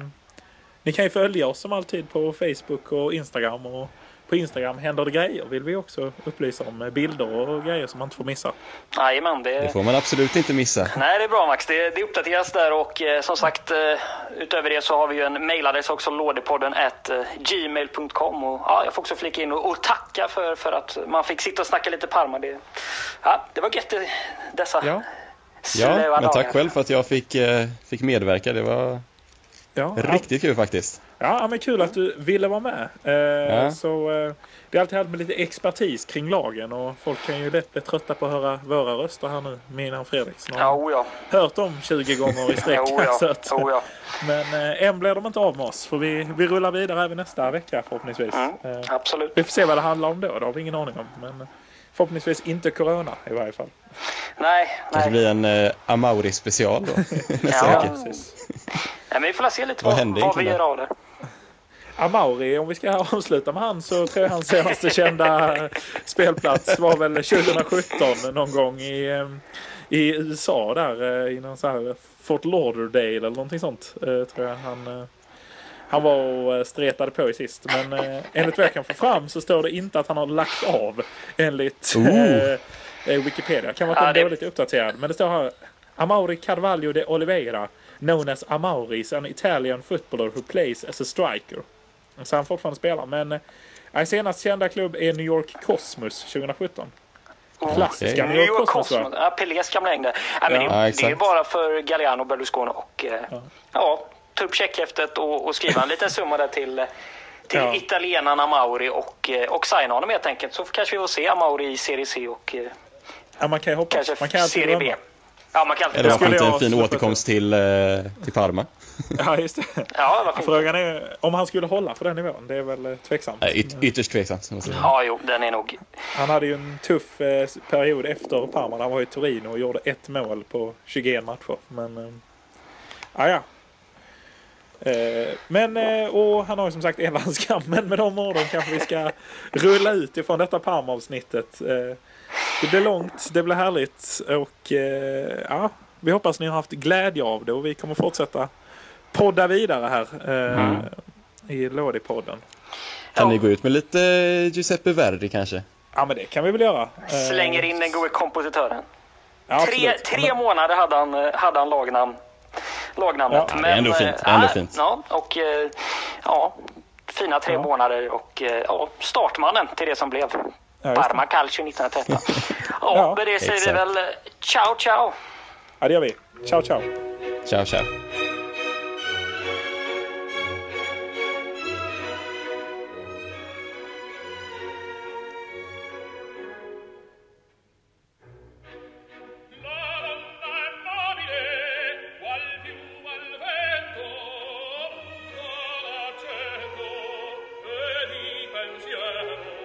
S1: ni kan ju följa oss som alltid på Facebook och Instagram. Och på Instagram händer det grejer vill vi också upplysa om eh, bilder och grejer som man inte får missa.
S2: Jajamän,
S3: Det
S2: det,
S3: får man absolut inte missa.
S2: Nej, det är bra Max. Det, det uppdateras där och eh, som sagt, eh, utöver det så har vi ju en mejladress också, lådepodden at eh, gmail.com. Och, ja, jag får också flika in och, och tacka för, för att man fick sitta och snacka lite Parma. Det, ja, det var gött eh, dessa
S1: Ja.
S2: slöa
S3: Ja, men
S2: dagar.
S3: tack själv för att jag fick, eh, fick medverka. Det var
S1: Ja,
S3: riktigt kul faktiskt.
S1: Ja, ja, men kul att du ville vara med. Eh,
S3: Ja.
S1: så, eh, det är alltid härligt med lite expertis kring lagen och folk kan ju lätt bli trötta på att höra våra röster här nu, mina och Fredriks. De har
S2: Ja, o ja.
S1: hört dem 20 gånger i sträck.
S2: Jo, ja.
S1: så att,
S2: Jo, ja.
S1: men eh, än blir de inte av med oss, för vi, vi rullar vidare även nästa vecka förhoppningsvis.
S2: Mm.
S1: Eh,
S2: Absolut.
S1: vi får se vad det handlar om då, det har vi ingen aning om. Men eh, förhoppningsvis inte corona i varje fall.
S2: Nej,
S3: Det
S2: nej.
S3: blir en eh, Amauri-special då.
S2: Ja.
S1: Ja, precis.
S2: nej, men vi får väl se lite
S3: Vad
S2: vad,
S3: hände
S2: vad vi
S3: egentligen
S2: gör av det.
S1: Amauri, om vi ska avsluta med han så tror jag hans senaste kända eh, spelplats var väl 2017 någon gång i, eh, i USA där eh, i någon så här Fort Lauderdale eller någonting sånt. eh, Tror jag han, eh, han var och eh, stretade på i sist. Men eh, enligt vad jag kan få fram så står det inte att han har lagt av enligt
S3: Ooh.
S1: eh, eh, Wikipedia. Kan vara
S2: Oh. Ja,
S1: att den är
S2: det-
S1: dåligt uppdaterad. Men det står här Amauri Carvalho de Oliveira known as Amauri is an Italian footballer who plays as a striker. Så han fortfarande spelar. Men eh, hans senast kända klubb är New York Cosmos 2017. Klassiska
S3: Okej.
S1: New York Cosmos va?
S2: Ja, Pelés gamla häng där. Nej, men
S1: Ja.
S2: det,
S3: Ja,
S2: det är ju
S3: exakt.
S2: bara för Galliano, Berlusconi och... eh, Ja. ta upp checkhäftet och, och skriva en liten summa där till, eh, till
S1: Ja.
S2: italienarna Mauri och, eh, och signa honom helt enkelt. Så kanske vi får se Mauri i Serie C och eh,
S1: Ja, man kan ju hoppas.
S2: kanske
S1: man kan alltid
S2: Serie B.
S1: drömma.
S2: Ja, man kan alltid
S3: Eller varför
S1: skulle
S3: inte
S1: jag
S3: en fin
S1: släppa
S3: återkomst till, eh, till Parma?
S1: Ja, just det.
S2: Ja, varför inte?
S1: Frågan är om han skulle hålla för den nivån. Det är väl eh, tveksamt.
S3: Nej, Yt, ytterst tveksamt. måste jag säga.
S2: Ja, jo, den är nog...
S1: Han hade ju en tuff eh, period efter Parma. där Han var i Torino och gjorde ett mål på 21 matcher. Men... Eh, ah, ja. Eh, men, eh, och han har ju som sagt en landskamp. Men med de orden kanske vi ska rulla ut ifrån detta Parma-avsnittet. Eh, det blir långt, det blir härligt och eh, ja, vi hoppas ni har haft glädje av det och vi kommer fortsätta podda vidare här eh, i Lådipodden.
S2: Ja,
S3: Kan ni gå ut med lite Giuseppe Verdi kanske?
S1: Ja, men det kan vi väl göra. Eh,
S2: slänger in den gode kompositören.
S1: ja,
S2: Tre,
S1: absolut.
S2: tre
S1: Men-
S2: månader hade han, eh, hade han lagnamn, lagnamnet.
S1: Ja,
S3: det är ändå
S2: eh,
S3: fint, det är ändå
S2: ja,
S3: fint.
S2: Ja, och, eh, ja, fina tre
S1: Ja.
S2: månader och eh, ja, startmannen till det som blev
S1: Ja, just det.
S2: Parma Calcio 1913. ja,
S1: Ja,
S2: med det säger vi
S3: exakt.
S2: väl eh, ciao, ciao.
S1: Ja, det gör vi. Ciao, ciao.
S3: Ciao, ciao.
S4: La donna immobile, qual piuma al vento, muta d'accento e di pensiero,